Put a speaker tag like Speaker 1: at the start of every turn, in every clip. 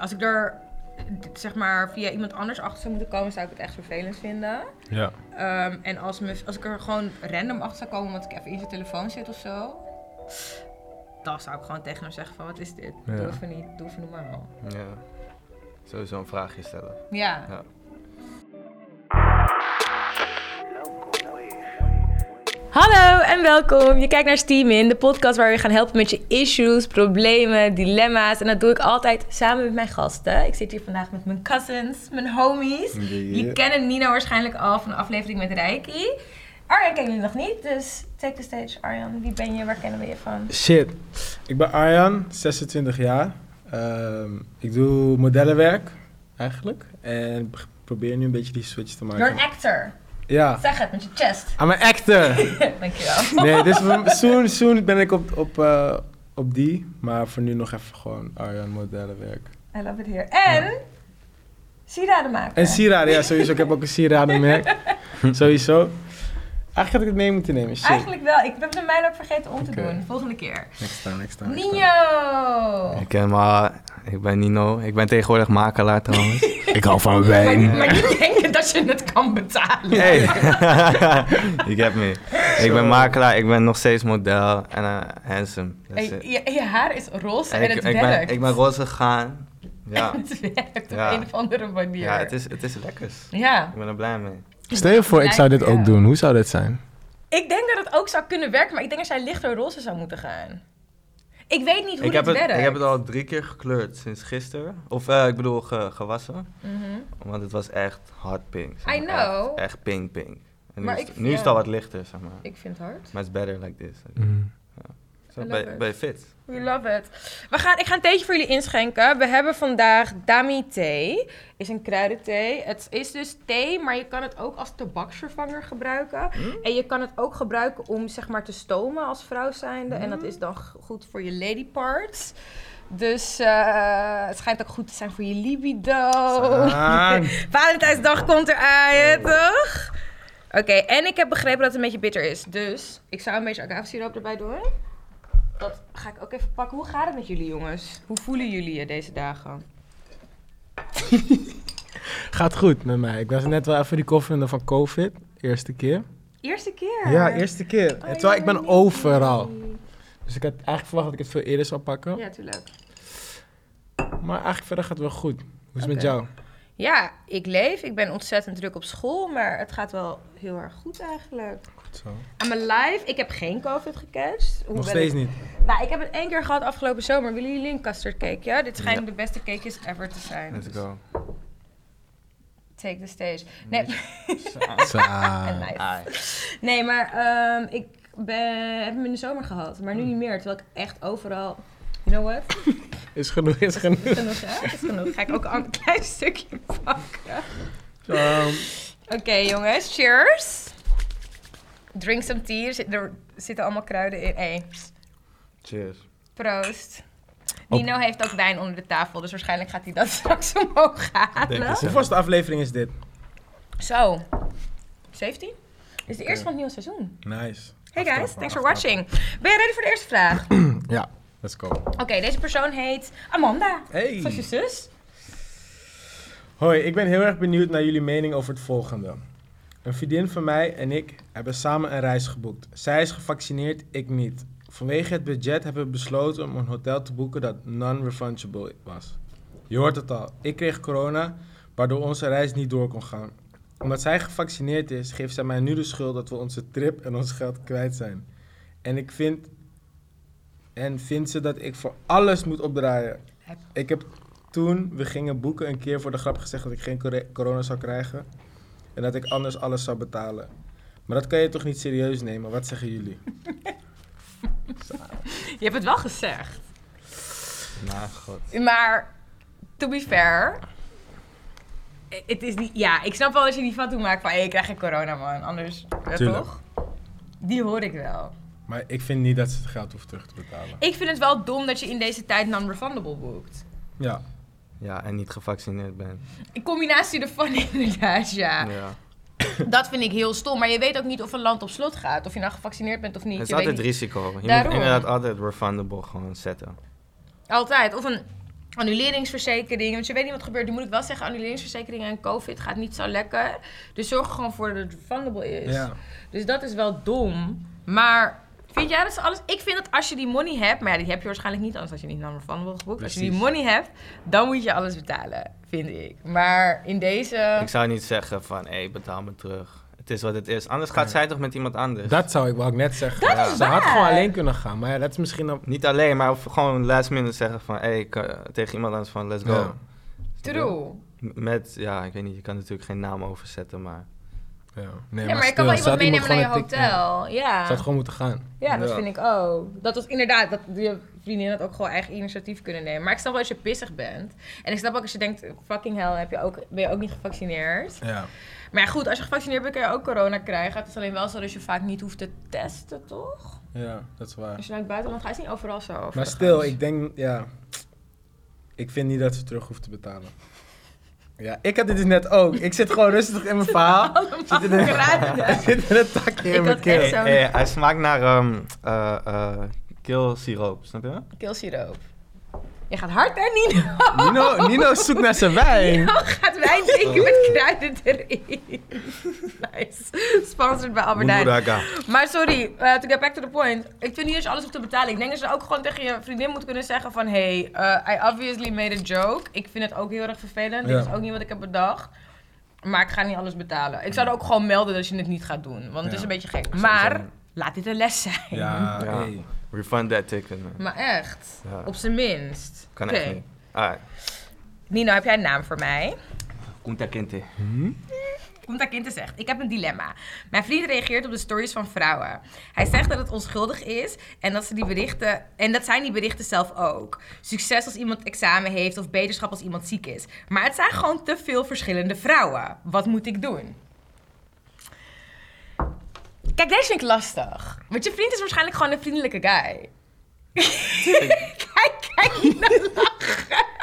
Speaker 1: Als ik er zeg maar via iemand anders achter zou moeten komen, zou ik het echt vervelend vinden.
Speaker 2: Ja.
Speaker 1: Ehm, en als, me, als ik er gewoon random achter zou komen omdat ik even in zijn telefoon zit of zo. Dan zou ik gewoon tegen hem zeggen van wat is dit?
Speaker 2: Ja.
Speaker 1: Doe even niet, doe even normaal.
Speaker 3: Ja. Sowieso een vraagje stellen.
Speaker 1: Ja.
Speaker 3: Ja.
Speaker 4: Hallo en welkom. Je kijkt naar Steam in, de podcast waar we je gaan helpen met je issues, problemen, dilemma's. En dat doe ik altijd samen met mijn gasten. Ik zit hier vandaag met mijn cousins, mijn homies. Jullie kennen Nina waarschijnlijk al van de aflevering met Reiki. Arjan kennen jullie nog niet, dus take the stage. Arjan, wie ben je? Waar kennen we je van?
Speaker 5: Shit. Ik ben Arjan, 26 jaar. Ehm, ik doe modellenwerk, eigenlijk. En ik probeer nu een beetje die switch te
Speaker 1: You're
Speaker 5: maken.
Speaker 1: an actor.
Speaker 5: Ja.
Speaker 1: Zeg het met je chest.
Speaker 5: I'm an actor!
Speaker 1: Dankjewel.
Speaker 5: Nee, dus we- soon, soon ben ik op, op, eh, op die. Maar voor nu nog even gewoon Arjan modellenwerk.
Speaker 1: I love it here. En sieraden maken.
Speaker 5: En sieraden, ja sowieso. Ik heb ook een sieradenmerk. sowieso. Eigenlijk had ik het mee moeten nemen. Shit.
Speaker 1: Eigenlijk wel. Ik heb de mijne ook vergeten om te
Speaker 5: Oké.
Speaker 1: doen. Volgende keer.
Speaker 5: Next time, next time. next time.
Speaker 1: Nino!
Speaker 3: Ik ken maar, ik ben Nino. Ik ben tegenwoordig makelaar trouwens.
Speaker 2: Ik hou van
Speaker 1: Maar,
Speaker 2: wijn.
Speaker 1: maar niet denken dat je het kan betalen.
Speaker 3: Hey, je hebt me. Ik ben makelaar, ik ben nog steeds model en eh, handsome. Dus,
Speaker 1: Hey,
Speaker 3: eh,
Speaker 1: je, je haar is roze en,
Speaker 3: en ik,
Speaker 1: het
Speaker 3: ik, ben,
Speaker 1: werkt.
Speaker 3: ik ben roze gegaan. Ja,
Speaker 1: En het werkt
Speaker 3: Ja.
Speaker 1: op een of andere manier.
Speaker 3: ja het, is, het is lekkers.
Speaker 1: Ja.
Speaker 3: Ik ben er blij mee.
Speaker 2: Stel je voor, ik zou dit
Speaker 1: Ja.
Speaker 2: ook doen. Hoe zou dit zijn?
Speaker 1: Ik denk dat het ook zou kunnen werken, maar ik denk dat zij lichter roze zou moeten gaan. Ik weet niet hoe dit
Speaker 3: Ik heb, het,
Speaker 1: werkt.
Speaker 3: ik heb het al drie keer gekleurd sinds gisteren. Of eh, ik bedoel ge- gewassen.
Speaker 1: Mhm.
Speaker 3: Want het was echt hard pink. zeg
Speaker 1: I
Speaker 3: maar. Echt-
Speaker 1: know.
Speaker 3: Echt pink pink. En nu
Speaker 1: Maar
Speaker 3: is,
Speaker 1: ik-
Speaker 3: het- nu is het
Speaker 1: ja.
Speaker 3: al wat lichter, zeg maar.
Speaker 1: Ik vind het hard.
Speaker 3: Maar het is better like this.
Speaker 2: Mhm.
Speaker 3: Zo,
Speaker 1: I love
Speaker 3: bij,
Speaker 1: it.
Speaker 3: bij fit.
Speaker 1: We love it. We gaan, ik ga een theetje voor jullie inschenken. We hebben vandaag Dami thee. Is een kruidenthee. Het is dus thee, maar je kan het ook als tabaksvervanger gebruiken. En je kan het ook gebruiken om zeg maar te stomen als vrouw zijnde. En dat is dan g- goed voor je lady parts. Dus eh, het schijnt ook goed te zijn voor je libido.
Speaker 5: Oh. Saan.
Speaker 1: Valentijnsdag komt eraan, hè, toch? Oké, en ik heb begrepen dat het een beetje bitter is. Dus ik zou een beetje agavesiroop erbij doen. Dat ga ik ook even pakken. Hoe gaat het met jullie jongens? Hoe voelen jullie je deze dagen?
Speaker 5: Gaat goed met mij. Ik was net wel even recoveren van COVID. Eerste keer.
Speaker 1: Eerste keer.
Speaker 5: Ja, eerste keer.
Speaker 1: Oh,
Speaker 5: En Terwijl ik ben
Speaker 1: nee.
Speaker 5: overal. Dus ik had eigenlijk verwacht dat ik het veel eerder zou pakken.
Speaker 1: Ja, tuurlijk.
Speaker 5: Maar eigenlijk verder gaat het wel goed. Hoe is het met
Speaker 1: Oké.
Speaker 5: jou?
Speaker 1: Ja, ik leef. Ik ben ontzettend druk op school, maar het gaat wel heel erg goed eigenlijk.
Speaker 5: Goed zo.
Speaker 1: I'm alive. Ik heb geen COVID gecatcht. Hoewel
Speaker 5: Nog steeds
Speaker 1: ik-
Speaker 5: niet.
Speaker 1: Nou, ik heb het één keer gehad afgelopen zomer. Willen jullie een custard cake? Ja, dit schijnen de beste cakejes ever te zijn.
Speaker 3: Let's
Speaker 1: Dus
Speaker 3: go.
Speaker 1: Take the stage. Nee, En
Speaker 2: Sa-
Speaker 1: mij.
Speaker 3: Ai.
Speaker 1: Nee, maar ehm, ik ben, heb hem in de zomer gehad, maar nu niet meer. Terwijl ik echt overal. You know what?
Speaker 5: Is genoeg, is genoeg.
Speaker 1: Genoeg, hè? Is genoeg. Ga ik ook een klein stukje pakken.
Speaker 5: Zo.
Speaker 1: Oké, jongens, cheers. Drink some tea. Er, zit- er zitten allemaal kruiden in. Hey,
Speaker 3: Cheers.
Speaker 1: proost. Nino heeft ook wijn onder de tafel, dus waarschijnlijk gaat hij dat straks omhoog halen.
Speaker 5: Hoe was de aflevering is dit?
Speaker 1: Zo, 17? Is de eerste van het nieuwe seizoen.
Speaker 5: Nice.
Speaker 1: Hey guys, thanks
Speaker 5: Aftrappen,
Speaker 1: for
Speaker 5: aftrappen.
Speaker 1: watching. Ben je ready voor de eerste vraag?
Speaker 5: Ja, let's go.
Speaker 1: Oké, deze persoon heet Amanda.
Speaker 5: Hey.
Speaker 1: Zoals je zus.
Speaker 5: Hoi, ik ben heel erg benieuwd naar jullie mening over het volgende. Een vriendin van mij en ik hebben samen een reis geboekt. Zij is gevaccineerd, ik niet. Vanwege het budget hebben we besloten om een hotel te boeken dat non-refundable was. Je hoort het al, ik kreeg corona, waardoor onze reis niet door kon gaan. Omdat zij gevaccineerd is, geeft zij mij nu de schuld dat we onze trip en ons geld kwijt zijn. En ik vind... En vindt ze dat ik voor alles moet opdraaien. Ik heb toen we gingen boeken een keer voor de grap gezegd dat ik geen cor- corona zou krijgen. En dat ik anders alles zou betalen. Maar dat kan je toch niet serieus nemen? Wat zeggen jullie?
Speaker 1: Je hebt het wel gezegd.
Speaker 3: Nou, god.
Speaker 1: Maar, to be fair... eh, Het is niet... Ja, ik snap wel dat je die fout maakt van... Hé, ik krijg geen corona, man. Anders, ja,
Speaker 5: Tuurlijk.
Speaker 1: toch? Die hoor ik wel.
Speaker 5: Maar ik vind niet dat ze het geld hoeft terug te betalen.
Speaker 1: Ik vind het wel dom dat je in deze tijd non-refundable boekt.
Speaker 5: Ja.
Speaker 3: Ja, en niet gevaccineerd ben.
Speaker 1: In combinatie ervan inderdaad, ja.
Speaker 3: Ja.
Speaker 1: Dat vind ik heel stom. Maar je weet ook niet of een land op slot gaat. Of je nou gevaccineerd bent of niet.
Speaker 3: Het is
Speaker 1: je weet
Speaker 3: altijd
Speaker 1: niet.
Speaker 3: risico. Je
Speaker 1: Daarom.
Speaker 3: moet inderdaad altijd refundable gewoon zetten.
Speaker 1: Altijd. Of een Annuleringsverzekering, want je weet niet wat er gebeurt. Nu moet ik wel zeggen, annuleringsverzekering en COVID gaat niet zo lekker. Dus zorg er gewoon voor dat het refundable is.
Speaker 5: Ja.
Speaker 1: Dus dat is wel dom. Maar vind jij dat ze alles... Ik vind dat als je die money hebt... Maar ja, die heb je waarschijnlijk niet, anders als je niet naar een refundable geboekt. Als je die
Speaker 5: Precies.
Speaker 1: money hebt, dan moet je alles betalen, vind ik. Maar in deze...
Speaker 3: Ik zou niet zeggen van, hé, betaal me terug. Het is wat het is. Anders gaat zij toch met iemand anders.
Speaker 2: Dat zou ik, wou ik net zeggen.
Speaker 3: Dat is
Speaker 2: Ze had
Speaker 1: waar.
Speaker 2: gewoon alleen kunnen gaan, maar ja, dat is misschien... Een...
Speaker 3: Niet alleen, maar of gewoon last minute zeggen van, hé, ik, eh, tegen iemand anders van, let's go.
Speaker 2: Ja.
Speaker 1: True.
Speaker 3: M- Met, ja, ik weet niet, je kan natuurlijk geen naam overzetten, maar...
Speaker 2: Ja,
Speaker 1: Ja, maar ik kan wel iemand meenemen naar je hotel.
Speaker 2: Ze
Speaker 1: Ja.
Speaker 2: had gewoon moeten gaan.
Speaker 1: Ja, dat
Speaker 3: Ja.
Speaker 1: vind ik ook. Dat was inderdaad, dat je vriendin had ook gewoon eigen initiatief kunnen nemen. Maar ik snap wel als je pissig bent. En ik snap ook als je denkt, fucking hell, heb je ook, ben je ook niet gevaccineerd.
Speaker 5: Ja.
Speaker 1: Maar ja, goed, als je gevaccineerd bent, kun je ook corona krijgen. Het is alleen wel zo dat je vaak niet hoeft te testen, toch?
Speaker 5: ja, dat is waar.
Speaker 1: Als je naar het buitenland gaat, is het niet overal zo.
Speaker 5: Maar
Speaker 1: overigens.
Speaker 5: stil, ik denk, ja. Ik vind niet dat ze terug hoeft te betalen. Ja, ik had dit dus net ook. Ik zit gewoon rustig in mijn verhaal.
Speaker 1: Oh,
Speaker 5: Ik zit in een, ik zit in een takje in
Speaker 1: Ik
Speaker 5: mijn
Speaker 1: had echt
Speaker 5: keel.
Speaker 1: zo'n
Speaker 3: Hé, hij smaakt naar ehm eh eh keelsiroop, snap je?
Speaker 1: keelsiroop. Je gaat hard, hè, Nino?
Speaker 5: Nino, Nino zoekt naar zijn wijn.
Speaker 1: Gaat wijn drinken met kruiden erin. Nice. Sponsored bij Albert Heijn.
Speaker 3: Moederaga.
Speaker 1: Maar sorry, eh, to get back to the point. Ik vind niet dat je alles hoeft te betalen. Ik denk dat je ook gewoon tegen je vriendin moet kunnen zeggen van... Hey, eh, I obviously made a joke. Ik vind het ook heel erg vervelend.
Speaker 5: Ja.
Speaker 1: Dit is ook niet wat ik heb bedacht. Maar ik ga niet alles betalen. Ik zou er ook gewoon melden dat je het niet gaat doen. Want het
Speaker 5: Ja.
Speaker 1: is een beetje gek. Maar
Speaker 3: Sowieso.
Speaker 1: laat dit een les zijn.
Speaker 5: Ja,
Speaker 3: Ja.
Speaker 5: hey.
Speaker 3: Refund that ticket, man.
Speaker 1: Maar echt.
Speaker 3: Ja,
Speaker 1: Op zijn minst.
Speaker 3: kan
Speaker 1: Oké.
Speaker 3: echt niet. Alright.
Speaker 1: Nino, heb jij een naam voor mij?
Speaker 3: Kunta Kinte.
Speaker 1: Omdat kind zegt, ik heb een dilemma. Mijn vriend reageert op de stories van vrouwen. Hij zegt dat het onschuldig is en dat, ze die berichten, en dat zijn die berichten zelf ook. Succes als iemand examen heeft of beterschap als iemand ziek is. Maar het zijn gewoon te veel verschillende vrouwen. Wat moet ik doen? Kijk, deze vind ik lastig. Want je vriend is waarschijnlijk gewoon een vriendelijke guy. kijk, kijk, je lachen.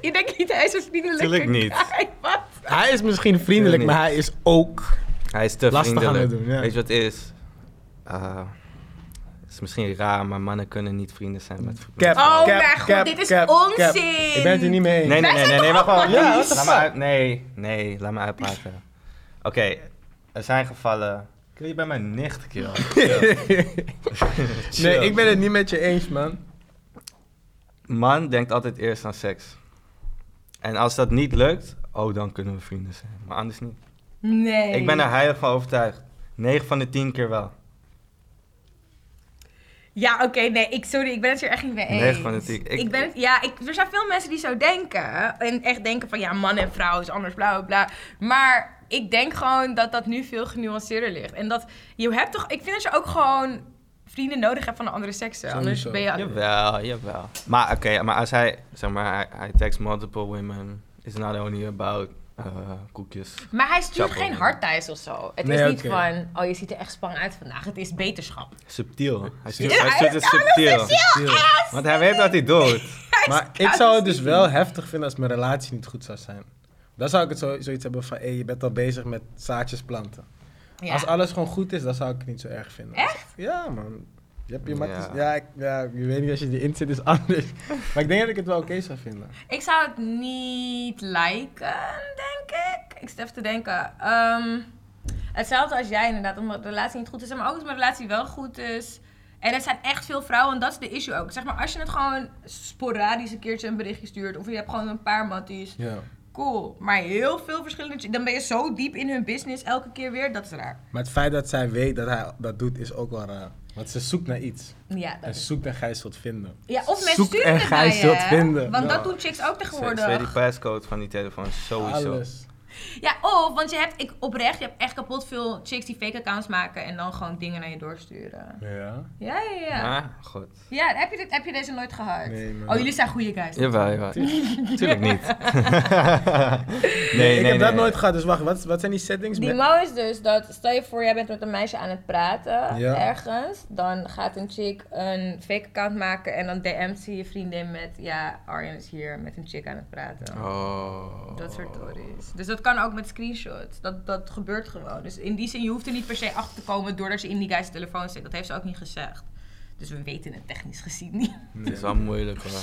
Speaker 1: Je denkt niet, hij is een vriendelijke
Speaker 3: Tuurlijk niet.
Speaker 1: guy. Wat?
Speaker 2: Hij is misschien vriendelijk,
Speaker 3: Ik weet
Speaker 2: maar hij is ook...
Speaker 3: Hij is te
Speaker 2: Lastig aan
Speaker 3: vriendelijk.
Speaker 2: het doen, ja.
Speaker 3: Weet je wat het is? Eh, het is misschien raar, maar mannen kunnen niet vrienden zijn met
Speaker 5: Cap,
Speaker 1: Oh
Speaker 5: cap,
Speaker 1: mijn god,
Speaker 5: cap,
Speaker 1: dit is
Speaker 5: cap, cap.
Speaker 1: onzin.
Speaker 5: Ik ben het er niet mee eens.
Speaker 3: Nee, nee, nee, nee, nee, wacht wel.
Speaker 5: Ja, what the
Speaker 3: laat me
Speaker 5: fuck?
Speaker 3: uit- Nee, nee, laat me uitpraten. Oké, er zijn gevallen. Kun je bij mijn nicht, kill?
Speaker 5: Nee, ik ben het niet met je eens, man.
Speaker 3: Man denkt altijd eerst aan seks. En als dat niet lukt, oh, dan kunnen we vrienden zijn. Maar anders niet.
Speaker 1: Nee.
Speaker 3: Ik ben er heilig van overtuigd. 9 van de 10 keer wel.
Speaker 1: Ja, oké, nee, ik, sorry, ik ben het hier echt niet mee eens.
Speaker 3: Nee, gewoon dat ik-
Speaker 1: Ik,
Speaker 3: ik-
Speaker 1: ben het, ja, ik, er zijn veel mensen die zo denken. En echt denken van, ja, man en vrouw is anders, bla, bla, bla. Maar ik denk gewoon dat dat nu veel genuanceerder ligt. En dat, je hebt toch, ik vind dat je ook gewoon vrienden nodig hebt van de andere seksen. Anders
Speaker 5: Sowieso.
Speaker 1: ben je...
Speaker 3: Jawel, jawel. Maar oké, maar als hij, zeg maar, hij, hij texts multiple women, it's not only about eh, koekjes.
Speaker 1: Maar hij stuurt
Speaker 3: Chapeau.
Speaker 1: geen hardtijs of zo. Het is
Speaker 5: Nee,
Speaker 1: niet
Speaker 5: oké.
Speaker 1: van, oh, je ziet er echt spang uit vandaag. Het is beterschap.
Speaker 3: Subtiel. Hij stuurt,
Speaker 1: Ja,
Speaker 3: hij
Speaker 1: hij-
Speaker 3: stuurt het
Speaker 1: ja, dat
Speaker 3: subtiel.
Speaker 5: Chill.
Speaker 3: Want hij weet wat hij doet.
Speaker 5: Maar ik zou het dus wel heftig vinden als mijn relatie niet goed zou zijn. Dan zou ik het zo, zoiets hebben van, hé, je bent al bezig met zaadjes planten.
Speaker 1: Ja.
Speaker 5: Als alles gewoon goed is, dan zou ik het niet zo erg vinden. Echt? Ja, man. Je hebt je matties-
Speaker 3: Ja.
Speaker 5: ja. ik- ja, je weet niet, als je erin zit is anders. maar ik denk dat ik het wel oké zou vinden.
Speaker 1: Ik zou het niet liken, denk ik. Ik zit even te denken. Ehm, hetzelfde als jij inderdaad, omdat de relatie niet goed is. Maar ook als mijn relatie wel goed is. En er zijn echt veel vrouwen en dat is de issue ook. Zeg maar, als je het gewoon sporadisch een keertje een berichtje stuurt... of je hebt gewoon een paar matties,
Speaker 5: Ja.
Speaker 1: cool. Maar heel veel verschillende... Dan ben je zo diep in hun business elke keer weer, dat is raar.
Speaker 5: Maar het feit dat zij weet dat hij dat doet, is ook wel raar. Want ze zoekt naar iets.
Speaker 1: Ja, dat
Speaker 5: En
Speaker 1: is...
Speaker 5: zoekt en gij zult vinden.
Speaker 1: Ja, of mensen
Speaker 5: Zoek
Speaker 1: sturen
Speaker 5: en
Speaker 1: het
Speaker 5: ga
Speaker 1: naar
Speaker 5: je zult
Speaker 1: hè.
Speaker 5: vinden.
Speaker 1: Want
Speaker 5: Ja.
Speaker 1: dat doen chicks ook
Speaker 3: Ze ze weet die
Speaker 1: tegenwoordig.
Speaker 3: passcode van die telefoon sowieso.
Speaker 5: Alles.
Speaker 1: Ja, of, want je hebt, ik oprecht, je hebt echt kapot veel chicks die fake accounts maken en dan gewoon dingen naar je doorsturen.
Speaker 5: Ja.
Speaker 1: Ja, ja, ja.
Speaker 3: Maar goed.
Speaker 1: Ja, heb je, dit, heb je deze nooit gehad?
Speaker 5: Nee, man.
Speaker 1: oh, jullie zijn goede guys.
Speaker 3: Jawel, jawel. Tuurlijk niet. nee,
Speaker 5: Nee,
Speaker 3: nee,
Speaker 5: ik heb dat
Speaker 3: nee, nee.
Speaker 5: nooit gehad, dus wacht, wat, wat zijn die settings?
Speaker 1: Die
Speaker 5: Met-
Speaker 1: mo is dus dat, stel je voor, jij bent met een meisje aan het praten
Speaker 5: Ja.
Speaker 1: ergens. Dan gaat een chick een fake account maken en dan DM't ze je vriendin met, ja, Arjen is hier met een chick aan het praten.
Speaker 3: Oh.
Speaker 1: Dat soort stories. Dus dat kan ook met screenshots. Dat, dat gebeurt gewoon. Dus in die zin, je hoeft er niet per se achter te komen doordat ze in die guy's telefoon zit. Dat heeft ze ook niet gezegd. Dus we weten het technisch gezien niet.
Speaker 3: Het is wel moeilijk hoor.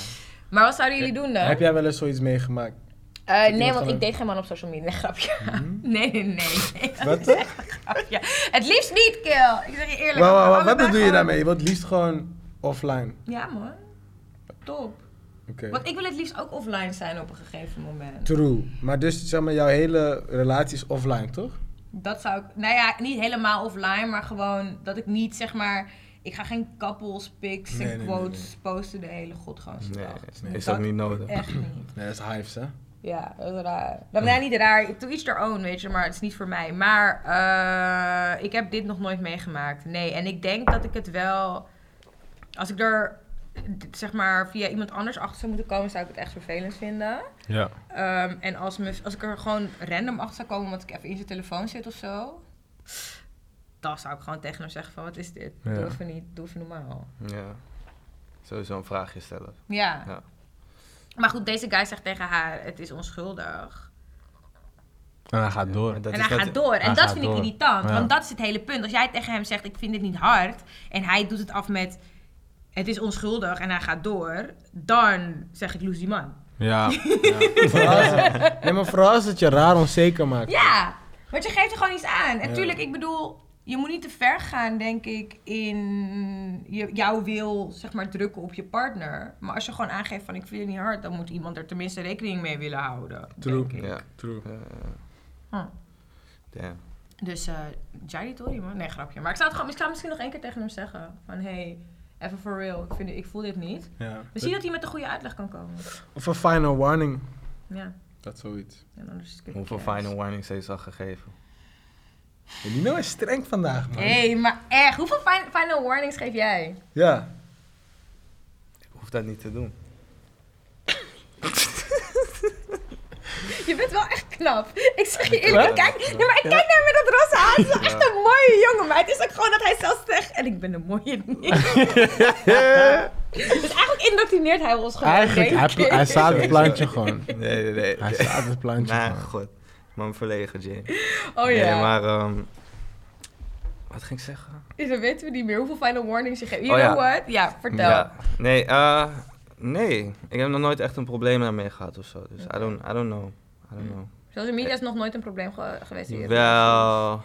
Speaker 1: Maar wat zouden jullie doen dan?
Speaker 5: Heb jij wel eens zoiets meegemaakt?
Speaker 1: Eh,
Speaker 5: iemand
Speaker 1: nee, want
Speaker 5: gewoon- Mhm.
Speaker 1: ik deed geen man op social media. Nee, grapje. Nee, nee, nee. nee.
Speaker 5: Wat? Wauw,
Speaker 1: Grapje. Het liefst niet, Kill. Ik zeg je eerlijk.
Speaker 5: wauw,
Speaker 1: maar
Speaker 5: wauw, wat
Speaker 1: allebei
Speaker 5: bedoel je
Speaker 1: gewoon-
Speaker 5: daarmee? Je wilt het liefst gewoon offline.
Speaker 1: Ja, man. Top.
Speaker 5: Oké.
Speaker 1: Want ik wil het liefst ook offline zijn op een gegeven moment.
Speaker 5: True. Maar dus zeg maar, jouw hele relatie is offline, toch?
Speaker 1: Dat zou ik... Nou ja, niet helemaal offline, maar gewoon dat ik niet, zeg maar... Ik ga geen couples, pics
Speaker 5: Nee, nee,
Speaker 1: en
Speaker 5: nee,
Speaker 1: quotes posten de hele godganse
Speaker 3: Nee,
Speaker 1: dag.
Speaker 3: is ook niet nodig.
Speaker 1: Echt niet.
Speaker 5: Nee, dat is hives, hè?
Speaker 1: Ja, dat is raar. Nou, ja, niet raar. Ik doe iets their own, weet je, maar het is niet voor mij. Maar eh, ik heb dit nog nooit meegemaakt. Nee, en ik denk dat ik het wel... Als ik er, eh, zeg maar, via iemand anders achter zou moeten komen, zou ik het echt vervelend vinden.
Speaker 6: Ja.
Speaker 1: Ehm, en als, me, als ik er gewoon random achter zou komen, omdat ik even in zijn telefoon zit of zo... Dan zou ik gewoon tegen hem zeggen van, wat is dit?
Speaker 6: Ja.
Speaker 1: Doe even niet, doe even normaal.
Speaker 3: Ja. Sowieso een vraagje stellen.
Speaker 1: Ja.
Speaker 3: Ja.
Speaker 1: Maar goed, deze guy zegt tegen haar, het is onschuldig.
Speaker 6: En Ah, hij gaat door.
Speaker 3: Maar dat
Speaker 1: en
Speaker 3: is
Speaker 1: hij
Speaker 3: net-
Speaker 1: gaat door. En
Speaker 6: hij
Speaker 1: dat
Speaker 6: gaat
Speaker 1: vind ik
Speaker 6: door.
Speaker 1: irritant.
Speaker 6: Ja.
Speaker 1: Want dat is het hele punt. Als jij tegen hem zegt, ik vind dit niet hard. En hij doet het af met, het is onschuldig en hij gaat door. Dan zeg ik, lose die man.
Speaker 6: Ja.
Speaker 5: Vooral als het- nee, maar vooral als het je raar onzeker maakt.
Speaker 1: Ja, want je geeft er gewoon iets aan. En
Speaker 5: Ja.
Speaker 1: tuurlijk, ik bedoel, je moet niet te ver gaan, denk ik, in je, jouw wil, zeg maar, drukken op je partner. Maar als je gewoon aangeeft van, ik vind het niet hard, dan moet iemand er tenminste rekening mee willen houden.
Speaker 5: True.
Speaker 1: Denk ik.
Speaker 3: Ja.
Speaker 5: True.
Speaker 3: Eh,
Speaker 1: Hm.
Speaker 3: damn.
Speaker 1: Dus eh Jari Tori, man. Nee, grapje. Maar ik zou, het gewoon, ik zou misschien nog één keer tegen hem zeggen. Van, hey, even for real. Ik, vind, ik voel dit niet.
Speaker 5: Ja.
Speaker 1: Misschien dat hij met een goede uitleg kan komen.
Speaker 5: Of een final warning.
Speaker 1: Ja.
Speaker 5: Dat zoiets.
Speaker 1: En anders is het
Speaker 3: Hoeveel final warnings heeft ze al gegeven?
Speaker 5: Nino is streng vandaag, man.
Speaker 1: Hé, hey, maar echt. Hoeveel fin- final warnings geef jij?
Speaker 5: Ja.
Speaker 3: Hoeft dat niet te doen.
Speaker 1: Je bent wel echt knap. Ik zeg je
Speaker 3: Ja,
Speaker 1: eerlijk, ik
Speaker 3: knap.
Speaker 1: kijk, nee, maar ik kijk naar hem met dat roze haar. Het is wel
Speaker 3: Ja.
Speaker 1: echt een mooie jongen. Maar het is ook gewoon dat hij zelf zegt... En ik ben een mooie niet. dus eigenlijk indoctrineert hij ons gewoon.
Speaker 5: Eigenlijk,
Speaker 1: denk
Speaker 5: hij,
Speaker 1: ik.
Speaker 5: pla- hij staat het plantje gewoon.
Speaker 3: Nee, nee, nee.
Speaker 5: Hij staat het plantje
Speaker 3: Nou,
Speaker 5: gewoon.
Speaker 3: god. Man verlegen, Jane.
Speaker 1: Oh ja.
Speaker 3: Nee, maar... ehm, wat ging ik zeggen?
Speaker 1: Dus dan weten we niet meer hoeveel final warnings je geeft. You
Speaker 3: Oh ja.
Speaker 1: know what? Ja, vertel.
Speaker 3: Ja. Nee, eh, nee. Ik heb nog nooit echt een probleem daarmee gehad of zo. Dus I, don't, I don't know. I don't know.
Speaker 1: Social media is nog nooit een probleem ge- geweest hier.
Speaker 3: Jawel.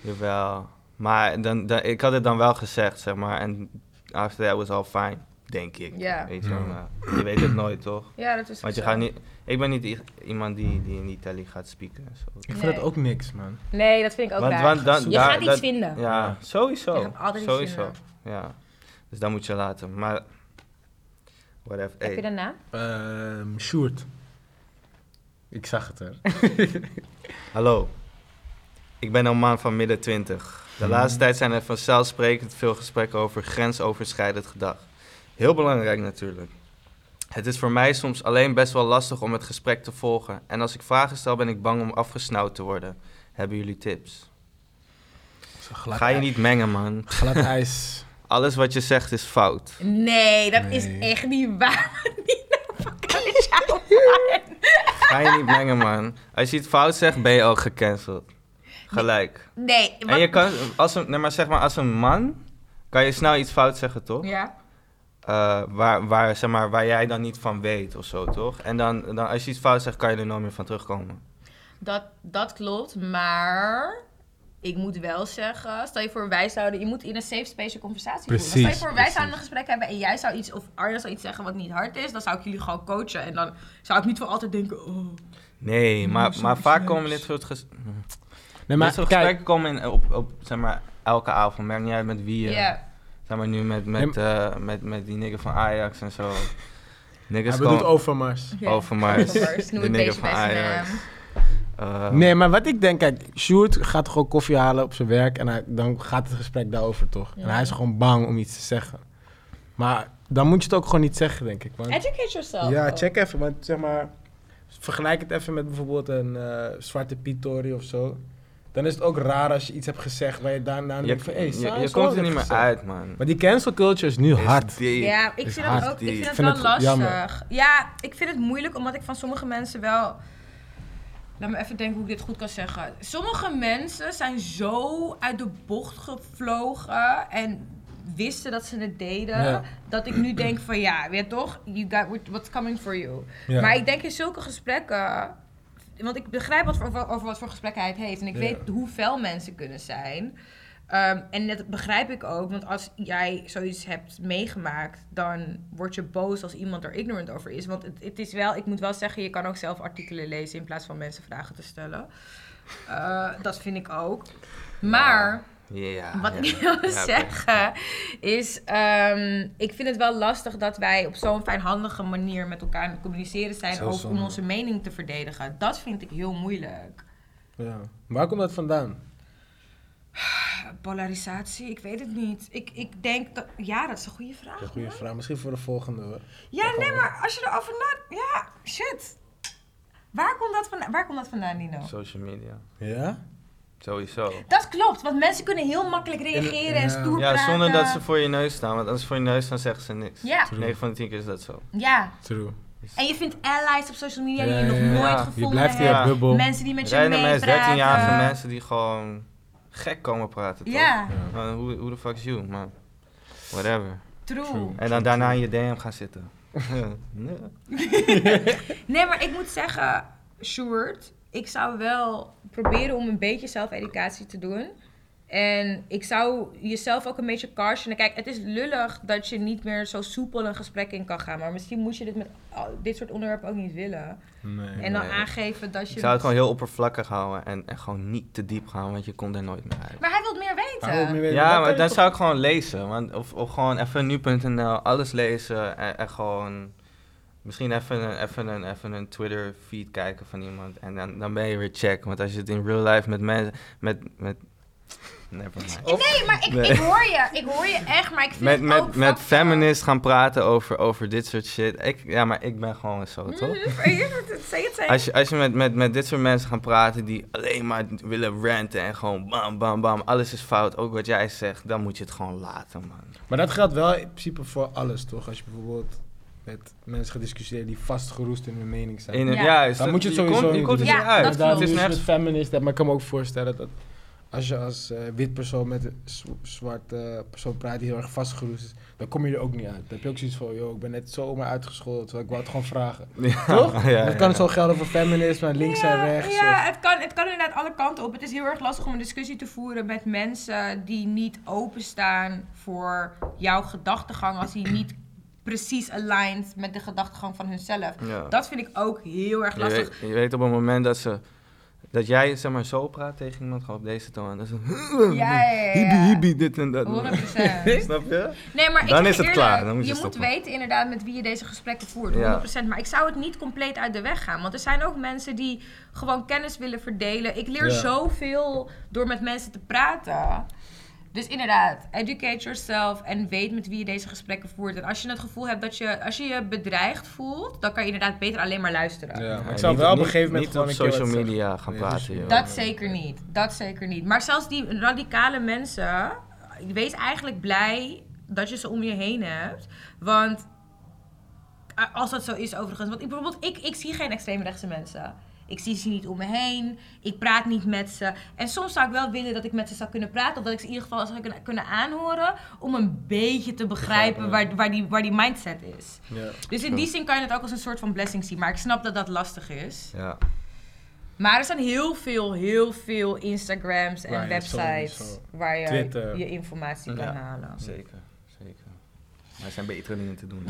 Speaker 3: Jawel. Maar dan, dan, ik had het dan wel gezegd, zeg maar. En after that was all fine, denk ik.
Speaker 1: Ja.
Speaker 3: Weet je, wel,
Speaker 6: Ja.
Speaker 3: maar je weet het nooit, toch?
Speaker 1: Ja, dat is
Speaker 3: Want je
Speaker 1: zo.
Speaker 3: gaat niet... Ik ben niet i- iemand die, die in Italië gaat spieken en zo.
Speaker 5: Ik vind
Speaker 1: Nee.
Speaker 5: dat ook niks, man.
Speaker 1: Nee, dat vind ik ook
Speaker 3: Want-
Speaker 1: raar.
Speaker 3: want dan-
Speaker 1: je
Speaker 3: daar-
Speaker 1: gaat iets
Speaker 3: dat-
Speaker 1: vinden.
Speaker 3: Ja, sowieso.
Speaker 1: Je gaat altijd iets
Speaker 3: sowieso.
Speaker 1: vinden.
Speaker 3: Ja. Dus dat moet je laten. Maar... Whatever.
Speaker 1: Heb je
Speaker 3: Hey.
Speaker 1: een naam?
Speaker 5: Ehm Sjoerd. Ik zag het er.
Speaker 3: Hallo. Ik ben een man van midden 20. De laatste tijd zijn er vanzelfsprekend veel gesprekken over grensoverschrijdend gedrag. Heel belangrijk natuurlijk. Het is voor mij soms alleen best wel lastig om het gesprek te volgen. En als ik vragen stel, ben ik bang om afgesnauwd te worden. Hebben jullie tips?
Speaker 5: Zo glad,
Speaker 3: Ga je niet mengen, man.
Speaker 5: glad ijs.
Speaker 3: Alles wat je zegt is fout.
Speaker 1: Nee, dat
Speaker 5: Nee.
Speaker 1: is echt niet waar. Nina, fuck, dat is jouw man.
Speaker 3: Ga je niet mengen, man. Als je iets fout zegt, ben je al gecanceld. Gelijk.
Speaker 1: Nee,
Speaker 3: En
Speaker 1: wat-
Speaker 3: je kan, als een, nee, maar zeg maar, als een man, kan je snel iets fout zeggen, toch?
Speaker 1: Ja.
Speaker 3: eh, waar, waar, zeg maar, waar jij dan niet van weet of zo, toch? En dan, dan als je iets fout zegt, kan je er nooit meer van terugkomen.
Speaker 1: Dat, dat klopt, maar... Ik moet wel zeggen, stel je voor wij zouden... Je moet in een safe space je conversatie voeren.
Speaker 6: Precies,
Speaker 1: Stel je voor wij
Speaker 6: precies.
Speaker 1: zouden een gesprek hebben en jij zou iets... Of Arjan zou iets zeggen wat niet hard is. Dan zou ik jullie gewoon coachen. En dan zou ik niet voor altijd denken... Oh,
Speaker 3: Nee, maar, maar vaak komen dit soort, ges-
Speaker 5: Nee,
Speaker 3: dit
Speaker 5: maar
Speaker 3: soort
Speaker 5: kijk.
Speaker 3: gesprekken komen in, op, op zeg maar, elke avond. Merk niet uit met wie je...
Speaker 1: ja.
Speaker 3: Zeg maar nu met, met, eh, met, met die nigger van Ajax en zo. Niggers
Speaker 5: Hij bedoelt
Speaker 3: gewoon
Speaker 5: Overmars.
Speaker 1: Ja,
Speaker 3: Overmars.
Speaker 1: Overmars, noem
Speaker 3: De
Speaker 1: het
Speaker 3: nigger
Speaker 1: beestje
Speaker 3: van
Speaker 1: bij zijn
Speaker 3: Ajax.
Speaker 1: naam.
Speaker 3: eh,
Speaker 5: Nee, maar wat ik denk, kijk, Sjoerd gaat gewoon koffie halen op zijn werk en hij, dan gaat het gesprek daarover toch? En hij is gewoon bang om iets te zeggen. Maar dan moet je het ook gewoon niet zeggen, denk ik. want-
Speaker 1: Educate yourself.
Speaker 5: Ja,
Speaker 1: ook.
Speaker 5: check even, want zeg maar, vergelijk het even met bijvoorbeeld een eh, zwarte Piet-tory of zo. Dan is het ook raar als je iets hebt gezegd waar je daarna
Speaker 3: je,
Speaker 5: denkt van, hé,
Speaker 3: je-
Speaker 5: Sarah
Speaker 3: je
Speaker 5: is
Speaker 3: komt
Speaker 5: ook
Speaker 3: er niet
Speaker 5: wat
Speaker 3: meer
Speaker 5: gezegd.
Speaker 3: uit, man.
Speaker 5: Maar die cancel culture is nu hard.
Speaker 3: Is die-
Speaker 1: Ja, ik
Speaker 5: Is
Speaker 1: vind
Speaker 5: hard.
Speaker 1: het ook. Ik vind
Speaker 3: Ik
Speaker 1: het
Speaker 5: vind
Speaker 1: wel
Speaker 5: het
Speaker 1: lastig.
Speaker 5: jammer.
Speaker 1: Ja, ik vind het moeilijk omdat ik van sommige mensen wel. Laat me even denken hoe ik dit goed kan zeggen. Sommige mensen zijn zo uit de bocht gevlogen en wisten dat ze het deden,
Speaker 5: Ja.
Speaker 1: dat ik nu denk van ja, weet je toch, you got what- what's coming for you.
Speaker 5: Ja.
Speaker 1: Maar ik denk in zulke gesprekken, want ik begrijp wat voor, over, over wat voor gesprekken hij het heeft en ik
Speaker 5: Ja.
Speaker 1: weet hoe fel mensen kunnen zijn. Ehm, en dat begrijp ik ook, want als jij zoiets hebt meegemaakt, dan word je boos als iemand er ignorant over is. Want het, het is wel, ik moet wel zeggen, je kan ook zelf artikelen lezen in plaats van mensen vragen te stellen. Eh, dat vind ik ook. Maar
Speaker 5: Ah,
Speaker 3: Ja.
Speaker 1: wat
Speaker 3: ja.
Speaker 1: ik wil
Speaker 3: Ja, oké.
Speaker 1: zeggen is, ehm, ik vind het wel lastig dat wij op zo'n fijnhandige manier met elkaar aan het communiceren zijn
Speaker 5: Zo
Speaker 1: ook om
Speaker 5: zonde.
Speaker 1: onze mening te verdedigen. Dat vind ik heel moeilijk.
Speaker 5: Ja. Waar komt dat vandaan?
Speaker 1: Eh, Polarisatie, ik weet het niet. Ik, ik denk dat, ja, dat is een goede vraag.
Speaker 5: Dat is een goede
Speaker 1: hoor.
Speaker 5: vraag. Misschien voor de volgende hoor.
Speaker 1: Ja, nee, maar als je erover na, ja, shit. Waar komt dat vandaan, waar komt dat vandaan Nino?
Speaker 3: Social media.
Speaker 5: Ja?
Speaker 3: Sowieso.
Speaker 1: Dat klopt, want mensen kunnen heel makkelijk reageren en
Speaker 5: Ja.
Speaker 1: stoer
Speaker 3: Ja,
Speaker 1: praten.
Speaker 3: zonder dat ze voor je neus staan. Want als ze voor je neus staan, zeggen ze niks.
Speaker 1: Ja,
Speaker 3: 9 van de 10 keer is dat zo.
Speaker 1: ja.
Speaker 2: True.
Speaker 1: En je vindt allies op social media die
Speaker 5: Ja,
Speaker 1: je nog
Speaker 5: ja, ja.
Speaker 1: nooit
Speaker 3: Je
Speaker 1: gevonden
Speaker 2: Je blijft in
Speaker 1: hebt.
Speaker 2: je bubbel.
Speaker 1: Mensen die met je
Speaker 3: Rijden
Speaker 1: meepraten.
Speaker 3: mensen, 13-jarige mensen die gewoon gek komen praten. Toch?
Speaker 1: Ja,
Speaker 3: Maar hoe, hoe de fuck is you, man? Whatever.
Speaker 1: true.
Speaker 5: True.
Speaker 3: En dan daarna in je DM gaan zitten. nee.
Speaker 1: Nee, maar ik moet zeggen, Sjoerd, ik zou wel proberen om een beetje zelfeducatie te doen. En ik zou jezelf ook een beetje cautionen. Kijk, het is lullig dat je niet meer zo soepel een gesprek in kan gaan. Maar misschien moet je dit met al- dit soort onderwerpen ook niet willen.
Speaker 5: Nee.
Speaker 1: En dan
Speaker 3: Nee.
Speaker 1: aangeven dat je...
Speaker 3: Ik zou het gewoon heel oppervlakkig houden en, en gewoon niet te diep gaan, want je komt er nooit meer uit.
Speaker 1: Maar hij wil meer
Speaker 5: Maar ook
Speaker 1: weten.
Speaker 5: niet weten, wat
Speaker 3: Ja,
Speaker 5: kan
Speaker 3: maar
Speaker 5: je
Speaker 3: dan
Speaker 5: toch-
Speaker 3: zou ik gewoon lezen. Want, of, of gewoon even nu.nl, alles lezen en, en gewoon... Misschien even een, even een, even een Twitter feed kijken van iemand en dan, dan ben je weer check. Want als je het in real life met mensen... Met, met, never mind.
Speaker 1: Nee, maar ik,
Speaker 3: Nee.
Speaker 1: ik hoor je. Ik hoor je echt, maar ik vind
Speaker 3: met,
Speaker 1: het ook
Speaker 3: met, met
Speaker 1: fucked up.
Speaker 3: feminist gaan praten over, over dit soort shit. Ik, ja, maar ik ben gewoon zo, toch?
Speaker 1: Mhm, Zeg het, zeg het.
Speaker 3: Als je, als je met, met, met dit soort mensen gaat praten die alleen maar willen ranten en gewoon bam, bam, bam, alles is fout, ook wat jij zegt, dan moet je het gewoon laten, man.
Speaker 5: Maar dat geldt wel in principe voor alles, toch? Als je bijvoorbeeld met mensen gaat discussiëren die vastgeroest in hun mening zijn.
Speaker 3: In,
Speaker 1: Ja.
Speaker 3: ja, is
Speaker 5: Dan
Speaker 3: dat-
Speaker 5: moet je het sowieso
Speaker 3: komt- je
Speaker 5: niet
Speaker 3: komt er
Speaker 1: doen.
Speaker 3: niet
Speaker 1: Ja,
Speaker 3: uit. Dus
Speaker 1: dat klopt.
Speaker 5: Inderdaad,
Speaker 3: Het
Speaker 5: nu
Speaker 3: is
Speaker 5: is
Speaker 3: net
Speaker 5: het feminist, maar ik kan me ook voorstellen dat als je als eh, wit persoon met een z- zwart eh, persoon praat die heel erg vastgeroest is, dan kom je er ook niet uit. Dan heb je ook zoiets van, joh, ik ben net zomaar uitgescholden, terwijl ik wou het gewoon vragen.
Speaker 3: Ja,
Speaker 5: Toch?
Speaker 3: ja,
Speaker 5: dat kan
Speaker 3: ja.
Speaker 5: zo gelden voor feminisme, links en
Speaker 1: Ja,
Speaker 5: rechts.
Speaker 1: Ja, het kan, het kan inderdaad alle kanten op. Het is heel erg lastig om een discussie te voeren met mensen die niet openstaan voor jouw gedachtegang als die niet precies aligned met de gedachtegang van hunzelf.
Speaker 3: Ja.
Speaker 1: Dat vind ik ook heel erg
Speaker 3: Je
Speaker 1: lastig.
Speaker 3: weet, je weet op het moment dat ze... Dat jij zeg maar zo praat tegen iemand, gewoon op deze toon. Dat is een
Speaker 1: Ja, ja, ja, ja.
Speaker 3: hibi, hibi, dit en dat.
Speaker 1: 100%.
Speaker 3: Snap je?
Speaker 1: Nee, maar ik
Speaker 3: Dan
Speaker 1: zeg
Speaker 3: is het
Speaker 1: eerlijk,
Speaker 3: klaar, dan moet je
Speaker 1: je
Speaker 3: stoppen.
Speaker 1: moet weten inderdaad met wie je deze gesprekken voert,
Speaker 3: Ja.
Speaker 1: 100%. Maar ik zou het niet compleet uit de weg gaan. Want er zijn ook mensen die gewoon kennis willen verdelen. Ik leer
Speaker 5: Ja.
Speaker 1: zoveel door met mensen te praten. Dus inderdaad, educate yourself en weet met wie je deze gesprekken voert. En als je het gevoel hebt dat je, als je je bedreigd voelt, dan kan je inderdaad beter alleen maar luisteren.
Speaker 5: Ja, maar
Speaker 3: Ja,
Speaker 5: ik zou
Speaker 3: niet-
Speaker 5: wel op een
Speaker 3: niet-
Speaker 5: gegeven moment
Speaker 3: niet
Speaker 5: gewoon
Speaker 3: op
Speaker 5: een keer wat
Speaker 3: social
Speaker 5: zeggen.
Speaker 3: media gaan
Speaker 5: Nee,
Speaker 3: praten,
Speaker 5: dus-
Speaker 3: joh.
Speaker 1: Dat zeker niet. Dat zeker niet. Maar zelfs die radicale mensen, wees eigenlijk blij dat je ze om je heen hebt. Want eh, als dat zo is overigens. Want ik, bijvoorbeeld, ik, ik zie geen extreemrechtse mensen. Ik zie ze niet om me heen. Ik praat niet met ze. En soms zou ik wel willen dat ik met ze zou kunnen praten. Of dat ik ze in ieder geval zou kunnen, kunnen aanhoren. Om een beetje te begrijpen waar, waar, die, waar die mindset is.
Speaker 5: Ja.
Speaker 1: Dus in die zin kan je het ook als een soort van blessing zien. Maar ik snap dat dat lastig is.
Speaker 3: Ja.
Speaker 1: Maar er zijn heel veel, heel veel Instagrams en
Speaker 5: Waar je
Speaker 1: websites
Speaker 5: sowieso-
Speaker 1: waar je
Speaker 5: Twitter.
Speaker 1: je informatie kan
Speaker 3: Ja.
Speaker 1: halen.
Speaker 3: Zeker, zeker. Maar er zijn betere dingen te doen.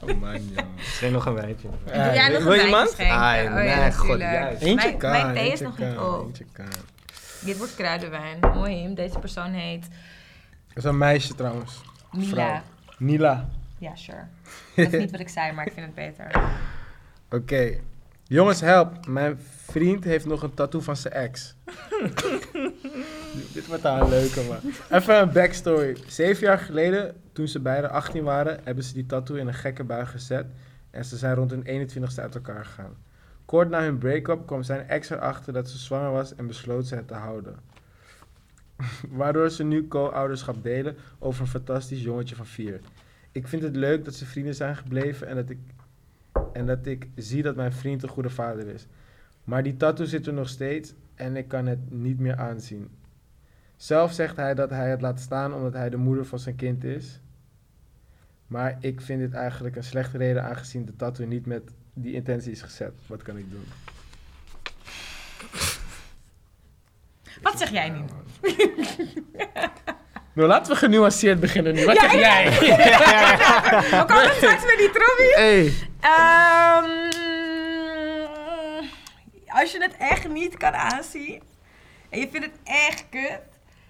Speaker 5: Oh man, ja.
Speaker 3: Schenk nog een wijntje.
Speaker 1: Doe
Speaker 5: Eh,
Speaker 1: jij nog
Speaker 3: wil
Speaker 1: een
Speaker 3: je iemand?
Speaker 1: wijntje schenken?
Speaker 3: Ah,
Speaker 1: Oh ja,
Speaker 3: nee, god,
Speaker 1: natuurlijk.
Speaker 3: juist.
Speaker 5: Eentje
Speaker 1: Mijn-
Speaker 5: kan,
Speaker 1: mijn thee is
Speaker 5: eentje
Speaker 1: nog
Speaker 5: kan,
Speaker 1: niet op.
Speaker 5: eentje kan.
Speaker 1: Dit wordt kruidenwijn. Mooi, Him. Deze persoon heet
Speaker 5: Dat is een meisje trouwens.
Speaker 1: Mila.
Speaker 5: Vrouw. Nila.
Speaker 1: Ja, sure. Dat is niet wat ik zei, maar ik vind het beter.
Speaker 5: Oké. Jongens, help. Mijn vriend heeft nog een tattoo van zijn ex. Dit wordt daar een leuke, man. Even een backstory. Zeven jaar geleden, toen ze beiden 18 waren, hebben ze die tattoo in een gekke bui gezet. En ze zijn rond hun 21ste uit elkaar gegaan. Kort na hun break-up kwam zijn ex erachter dat ze zwanger was en besloot ze het te houden. Waardoor ze nu co-ouderschap delen over een fantastisch jongetje van vier. Ik vind het leuk dat ze vrienden zijn gebleven en dat ik en dat ik zie dat mijn vriend een goede vader is. Maar die tattoo zit er nog steeds en ik kan het niet meer aanzien. Zelf zegt hij dat hij het laat staan omdat hij de moeder van zijn kind is. Maar ik vind dit eigenlijk een slechte reden aangezien de tattoo niet met die intentie is gezet. Wat kan ik doen?
Speaker 1: Wat zeg jij nu?
Speaker 5: Nou, laten we genuanceerd beginnen nu. Wat
Speaker 1: Ja,
Speaker 5: zeg
Speaker 1: ik-
Speaker 5: jij?
Speaker 1: We komen straks met die trommie.
Speaker 5: Hey.
Speaker 1: Ehm, als je het echt niet kan aanzien en je vindt het echt kut.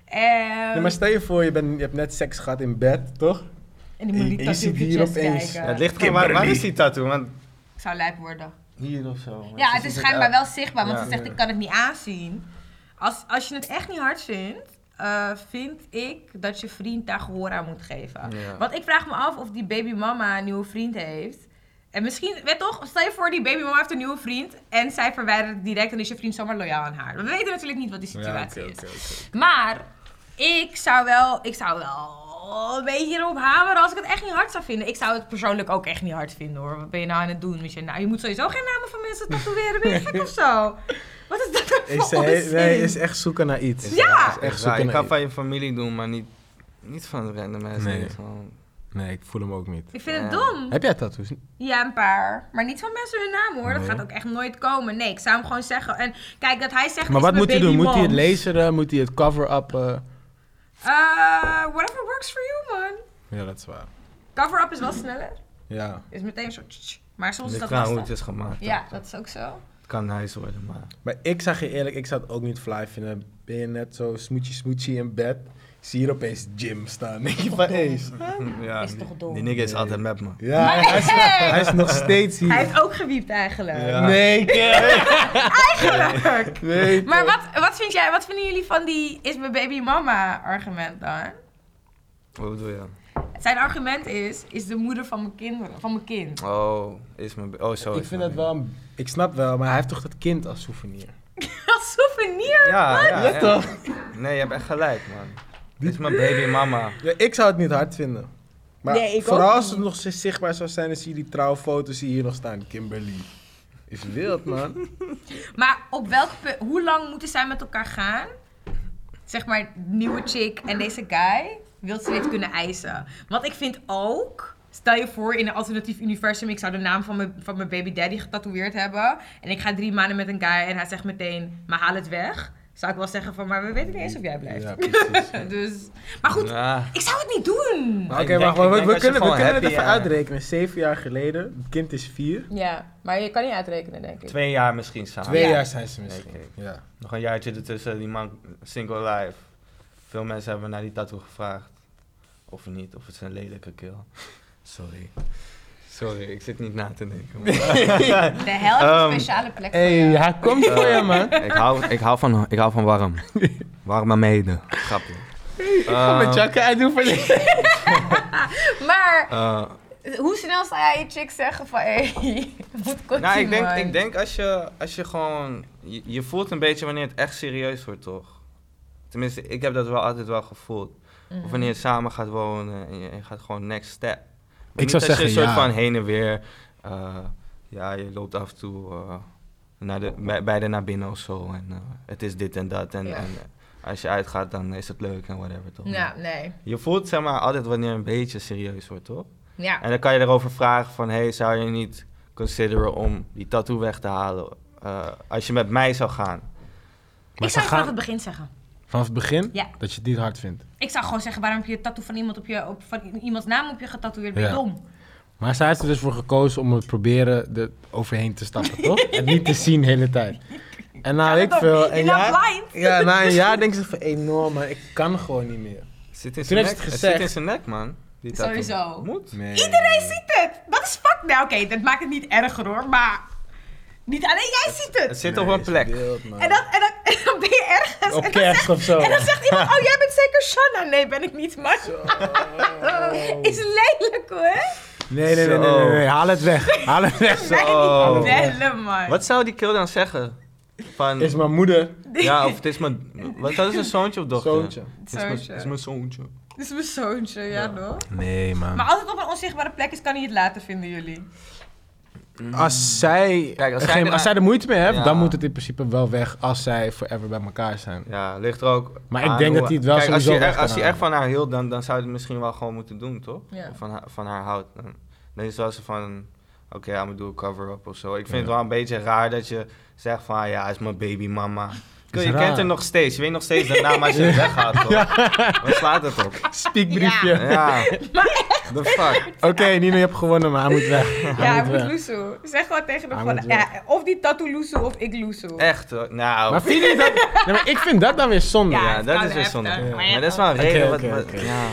Speaker 1: ehm, En,
Speaker 5: Nee, maar stel je voor, je, bent, je hebt net seks gehad in bed, toch?
Speaker 1: en die moet
Speaker 5: je-
Speaker 1: die
Speaker 5: je
Speaker 1: tattoo
Speaker 5: ziet
Speaker 1: op
Speaker 5: hier
Speaker 1: je chest
Speaker 5: opeens-
Speaker 1: kijken.
Speaker 3: Ja, het ligt gewoon, waar, waar is die tattoo? Want
Speaker 1: Ik zou lijp worden.
Speaker 3: hier of zo.
Speaker 1: Ja, het is schijnbaar wel zichtbaar, want
Speaker 3: Ja.
Speaker 1: ze zegt ik kan het niet aanzien. Als, als je het echt niet hard vindt, eh, vind ik dat je vriend daar gehoor aan moet geven.
Speaker 3: Ja.
Speaker 1: Want ik vraag me af of die babymama een nieuwe vriend heeft. En misschien, weet toch, stel je voor die babymama heeft een nieuwe vriend en zij verwijdert het direct en is je vriend zomaar loyaal aan haar. We weten natuurlijk niet wat die situatie is. Maar ik zou wel, ik zou wel een beetje erop hameren als ik het echt niet hard zou vinden. Ik zou het persoonlijk ook echt niet hard vinden hoor. Wat ben je nou aan het doen? Michel? Nou, je moet sowieso geen namen van mensen tatoeëren. Ben je gek of zo? Wat is dat dan
Speaker 5: Is,
Speaker 1: voor
Speaker 5: hij-
Speaker 1: onzin?
Speaker 5: nee, is echt zoeken naar iets.
Speaker 1: Ja!
Speaker 5: Is echt
Speaker 3: Ja,
Speaker 5: zoeken
Speaker 3: je
Speaker 5: naar
Speaker 3: kan
Speaker 5: iets.
Speaker 3: van je familie doen, maar niet, niet van random mensen.
Speaker 2: Nee.
Speaker 3: Het is gewoon-
Speaker 2: Nee, ik voel hem ook niet.
Speaker 1: Ik vind het
Speaker 3: Ja.
Speaker 1: dom.
Speaker 2: Heb jij tattoos?
Speaker 1: Ja, een paar. Maar niet van mensen hun naam hoor. Dat
Speaker 2: Nee.
Speaker 1: gaat ook echt nooit komen. Nee, ik zou hem gewoon zeggen. En kijk, dat hij zegt.
Speaker 2: Maar
Speaker 1: is
Speaker 2: wat
Speaker 1: mijn
Speaker 2: moet hij doen?
Speaker 1: baby
Speaker 2: Moet hij het
Speaker 1: moms.
Speaker 2: lezen? Moet hij het cover-up?
Speaker 1: Eh, whatever works for you, man.
Speaker 2: Ja, dat is waar.
Speaker 1: Cover-up is wel sneller.
Speaker 2: Ja.
Speaker 1: Is meteen zo. tsch, tsch. Maar soms is
Speaker 3: Ligt
Speaker 1: dat
Speaker 3: eraan hoe het
Speaker 1: lastig.
Speaker 3: is gemaakt.
Speaker 1: Ja, dat is ook zo.
Speaker 3: Het kan nice worden, maar...
Speaker 5: Maar ik zag je eerlijk, ik zou het ook niet fly vinden. Ben je net zo smoetje smoetje in bed, zie je er opeens Jim staan. Denk je van, hé, is-
Speaker 3: Ja,
Speaker 1: Is
Speaker 3: die-
Speaker 1: toch dom?
Speaker 3: Die nigga is altijd met me.
Speaker 5: ja, hij, is, hij is nog steeds
Speaker 1: Hij
Speaker 5: hier.
Speaker 1: heeft ook gewiept eigenlijk.
Speaker 5: Nee, kerel.
Speaker 1: Eigenlijk.
Speaker 5: Nee.
Speaker 1: Maar wat, wat vind jij, wat vinden jullie van die is mijn baby mama argument dan?
Speaker 3: Hoe bedoel je?
Speaker 1: Zijn argument is, is de moeder van mijn kinderen, van mijn kind.
Speaker 3: Oh, is mijn... be- Oh, zo
Speaker 5: Ik
Speaker 3: is
Speaker 5: vind
Speaker 3: mijn
Speaker 5: dat wel, een- ik snap wel, maar hij heeft toch dat kind als souvenir?
Speaker 1: Als souvenir.
Speaker 3: Ja, ja, ja.
Speaker 5: toch?
Speaker 3: Nee, je hebt echt gelijk, man. Dit is mijn baby mama.
Speaker 5: Ja, ik zou het niet hard vinden. Maar
Speaker 1: Nee, ik
Speaker 5: vooral
Speaker 1: ook
Speaker 5: als het nog steeds zichtbaar zou zijn, dan zie je die trouwfoto's die hier nog staan. Kimberly. Is wild, man.
Speaker 1: Maar op welk punt, hoe lang moeten zij met elkaar gaan? Zeg maar, nieuwe chick en deze guy. Wilt ze dit kunnen eisen? Want ik vind ook, stel je voor in een alternatief universum, ik zou de naam van mijn, van mijn baby daddy getatoeëerd hebben. En ik ga drie maanden met een guy en hij zegt meteen, maar haal het weg. Zou ik wel zeggen van, maar we weten niet eens of jij blijft.
Speaker 5: Ja, precies.
Speaker 1: Dus, maar goed,
Speaker 3: Ja.
Speaker 1: ik zou het niet doen.
Speaker 5: Maar Oké,
Speaker 3: Ik denk-
Speaker 5: wacht, maar
Speaker 3: ik
Speaker 5: we,
Speaker 3: denk
Speaker 5: we
Speaker 3: als je
Speaker 5: kunnen, we
Speaker 3: gewoon
Speaker 5: kunnen het
Speaker 3: happy,
Speaker 5: even
Speaker 3: ja.
Speaker 5: uitrekenen. Zeven jaar geleden, het kind is
Speaker 1: Ah,
Speaker 5: vier.
Speaker 4: Ja, maar je kan niet uitrekenen, denk ik.
Speaker 3: Twee jaar misschien samen.
Speaker 5: Twee jaar zijn ze misschien.
Speaker 3: Oké.
Speaker 5: Ja.
Speaker 3: Nog een jaartje ertussen, die man single life. Veel mensen hebben naar die tattoo gevraagd. Of niet, of het is een lelijke kill. Sorry. Sorry, ik zit niet na te denken. maar-
Speaker 1: De hel heeft
Speaker 3: Ehm,
Speaker 1: een speciale plek voor
Speaker 5: Hé,
Speaker 1: jou.
Speaker 5: hij komt voor je, man.
Speaker 3: ik, hou, ik, hou van, ik hou van warm. Warme mede. Grapje. Eh, Ehm,
Speaker 5: Met Jacke, hij doet voor je.
Speaker 1: Maar
Speaker 3: Eh,
Speaker 1: hoe snel zou jij je chick zeggen van, hé, hey, moet kort
Speaker 3: Nou, ik denk, ik denk als, je, als je gewoon... Je, je voelt een beetje wanneer het echt serieus wordt, toch? Tenminste, ik heb dat wel altijd wel gevoeld.
Speaker 1: Mhm.
Speaker 3: Of wanneer je samen gaat wonen en je, je gaat gewoon next step. Maar niet
Speaker 2: zou
Speaker 3: als
Speaker 2: zeggen
Speaker 3: je een soort
Speaker 2: ja.
Speaker 3: van heen en weer... eh, ja, je loopt af en toe eh, naar de, bij, bij de naar binnen of zo. En eh, het is dit en dat. En,
Speaker 1: Ja.
Speaker 3: en als je uitgaat, dan is het leuk en whatever, toch?
Speaker 1: Ja, nee.
Speaker 3: Je voelt zeg maar altijd wanneer een beetje serieus wordt, toch?
Speaker 1: Ja.
Speaker 3: En dan kan je erover vragen van, hey, zou je niet consideren om die tattoo weg te halen eh, als je met mij zou gaan?
Speaker 1: ik zou het vanaf het begin zeggen.
Speaker 2: Vanaf het begin?
Speaker 1: Ja.
Speaker 2: Dat je het niet hard vindt.
Speaker 1: Ik zou gewoon zeggen, waarom heb je het tattoo van iemand op je, op, van iemands naam op je getatoeëerd? Ben je
Speaker 2: Ja.
Speaker 1: dom?
Speaker 2: Maar zij heeft er dus voor gekozen om het proberen er overheen te stappen, toch? En niet te zien de hele tijd. En nou, ik veel.
Speaker 1: Je
Speaker 2: En
Speaker 1: loopt
Speaker 2: ja,
Speaker 1: blind.
Speaker 5: Ja, na een jaar denken ze van, enorm, maar ik kan gewoon niet meer.
Speaker 3: Het zit in
Speaker 5: Toen
Speaker 3: zijn
Speaker 5: heeft
Speaker 3: nek,
Speaker 5: het
Speaker 3: het
Speaker 5: gezegd.
Speaker 3: zit in zijn nek, man. Die tattoo.
Speaker 1: Sowieso.
Speaker 3: Moet.
Speaker 5: Iedereen ziet
Speaker 1: Dit, dat is fuck. Nou, oké, dat maakt het niet erger hoor, maar... Niet alleen jij ziet
Speaker 3: Het
Speaker 1: het.
Speaker 3: zit op een plek.
Speaker 1: En dan, en, dan, en dan ben je ergens.
Speaker 5: Op
Speaker 1: en, dan
Speaker 5: kerst
Speaker 1: zegt,
Speaker 5: of zo.
Speaker 1: en dan zegt iemand: Oh, jij bent zeker Shanna. Nee, ben ik niet, man. Is lelijk hoor.
Speaker 5: Nee, nee, nee, nee, nee, nee, haal het weg. Haal het weg.
Speaker 3: Zo.
Speaker 1: Bellen, man.
Speaker 3: Wat zou die kill dan zeggen? Van,
Speaker 5: Is mijn moeder,
Speaker 3: ja, of het is mijn... Wat, dat is een zoontje of dochter?
Speaker 5: zoontje.
Speaker 3: Het is mijn,
Speaker 1: Zoontje.
Speaker 3: het is mijn zoontje.
Speaker 1: Dit is mijn zoontje, ja, toch?
Speaker 2: Nee, man.
Speaker 1: Maar als het op een onzichtbare plek is, kan hij het laten, vinden jullie.
Speaker 2: Als zij,
Speaker 3: Kijk, als
Speaker 2: geen-
Speaker 3: zij er-
Speaker 2: als zij er moeite mee heeft,
Speaker 3: Ja.
Speaker 2: dan moet het in principe wel weg als zij forever bij elkaar zijn.
Speaker 3: Ja, ligt er ook.
Speaker 2: Maar ik
Speaker 3: aan
Speaker 2: denk
Speaker 3: hoe-
Speaker 2: dat hij het wel
Speaker 3: Kijk, als
Speaker 2: sowieso
Speaker 3: je er-
Speaker 2: weg kan
Speaker 3: Als hij
Speaker 2: halen.
Speaker 3: echt van haar hield, dan, dan zou hij het misschien wel gewoon moeten doen, toch?
Speaker 1: Ja.
Speaker 3: Of Van, haar- van haar houdt. Dan, dan is het wel zo van. Oké, ja, maar doe een cover-up of zo. Ik vind het wel een beetje raar dat je zegt van, ah, ja, is mijn babymama. Je
Speaker 2: Is
Speaker 3: je
Speaker 2: raar.
Speaker 3: kent haar nog steeds. Je weet nog steeds de naam als je het weghaalt, toch? Wat slaat het op?
Speaker 2: Spiekbriefje.
Speaker 3: Ja. The fuck?
Speaker 2: Oké, Nino, je hebt gewonnen, maar hij moet weg. Hij
Speaker 1: Ja, ik
Speaker 2: moet
Speaker 1: moet
Speaker 2: weg.
Speaker 1: loesoe. Zeg gewoon tegen hem
Speaker 2: Hij
Speaker 1: gewoon,
Speaker 2: moet weg.
Speaker 1: ja, of die tattoo loesoe of ik loesoe.
Speaker 3: Echt, hoor. nou.
Speaker 2: Maar vind je dat... Nee, maar ik vind dat dan weer zonde.
Speaker 3: ja,
Speaker 1: het
Speaker 3: dat
Speaker 1: kan
Speaker 3: is weer
Speaker 1: heftig,
Speaker 3: zonde.
Speaker 1: maar ja.
Speaker 3: Maar dat is wel een reden.
Speaker 2: oké,
Speaker 3: wat, wat-
Speaker 2: oké.
Speaker 3: Ja.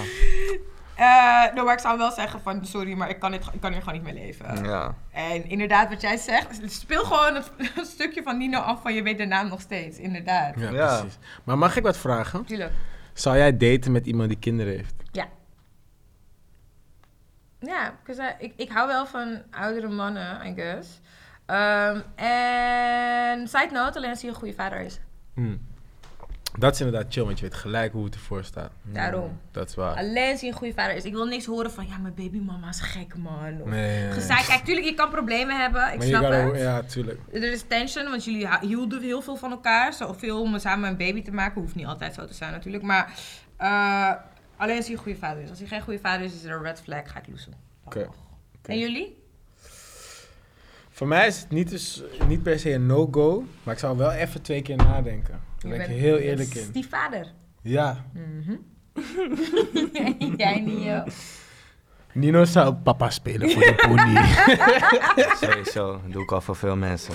Speaker 1: Eh, nou, maar ik zou wel zeggen van, sorry, maar ik kan, dit, ik kan hier gewoon niet mee leven.
Speaker 3: ja.
Speaker 1: En inderdaad, wat jij zegt, speel gewoon het, het stukje van Nino af van je weet de naam nog steeds. Inderdaad.
Speaker 2: Ja,
Speaker 3: Ja.
Speaker 2: precies. Maar mag ik wat vragen?
Speaker 1: Tuurlijk.
Speaker 2: Zou jij daten met iemand die kinderen heeft?
Speaker 1: Ja, because I- ik, ik hou wel van oudere mannen, I guess. Ehm, En side note, alleen als hij een goede vader is.
Speaker 2: Hm. Dat is inderdaad chill, want je weet gelijk hoe het ervoor staat. Hmm.
Speaker 1: Daarom.
Speaker 2: Dat is waar.
Speaker 1: Alleen als hij een goede vader is. Ik wil niks horen van, ja, mijn babymama is gek, man. Of
Speaker 2: Nee, nee, nee.
Speaker 1: Gezeik. Kijk, tuurlijk, je kan problemen hebben. Ik
Speaker 2: Maar je
Speaker 1: snap
Speaker 2: gotta-
Speaker 1: het.
Speaker 2: Ja, tuurlijk.
Speaker 1: Er is tension, want jullie hou- hielden heel veel van elkaar. Zoveel om samen een baby te maken. Hoeft niet altijd zo te zijn natuurlijk. Maar eh, alleen als hij een goede vader is. Als hij geen goede vader is, is er een red flag. Ga ik loesoe.
Speaker 2: Oké.
Speaker 1: En jullie?
Speaker 5: Voor mij is het niet, dus, niet per se een no-go, maar ik zou wel even twee keer nadenken. Daar ben ik
Speaker 1: bent- je
Speaker 5: heel
Speaker 1: bent
Speaker 5: eerlijk in.
Speaker 1: Die vader.
Speaker 5: Ja,
Speaker 1: Jij niet, joh.
Speaker 2: Nino zou papa spelen voor de pony.
Speaker 3: Sowieso. Dat doe ik al voor veel mensen.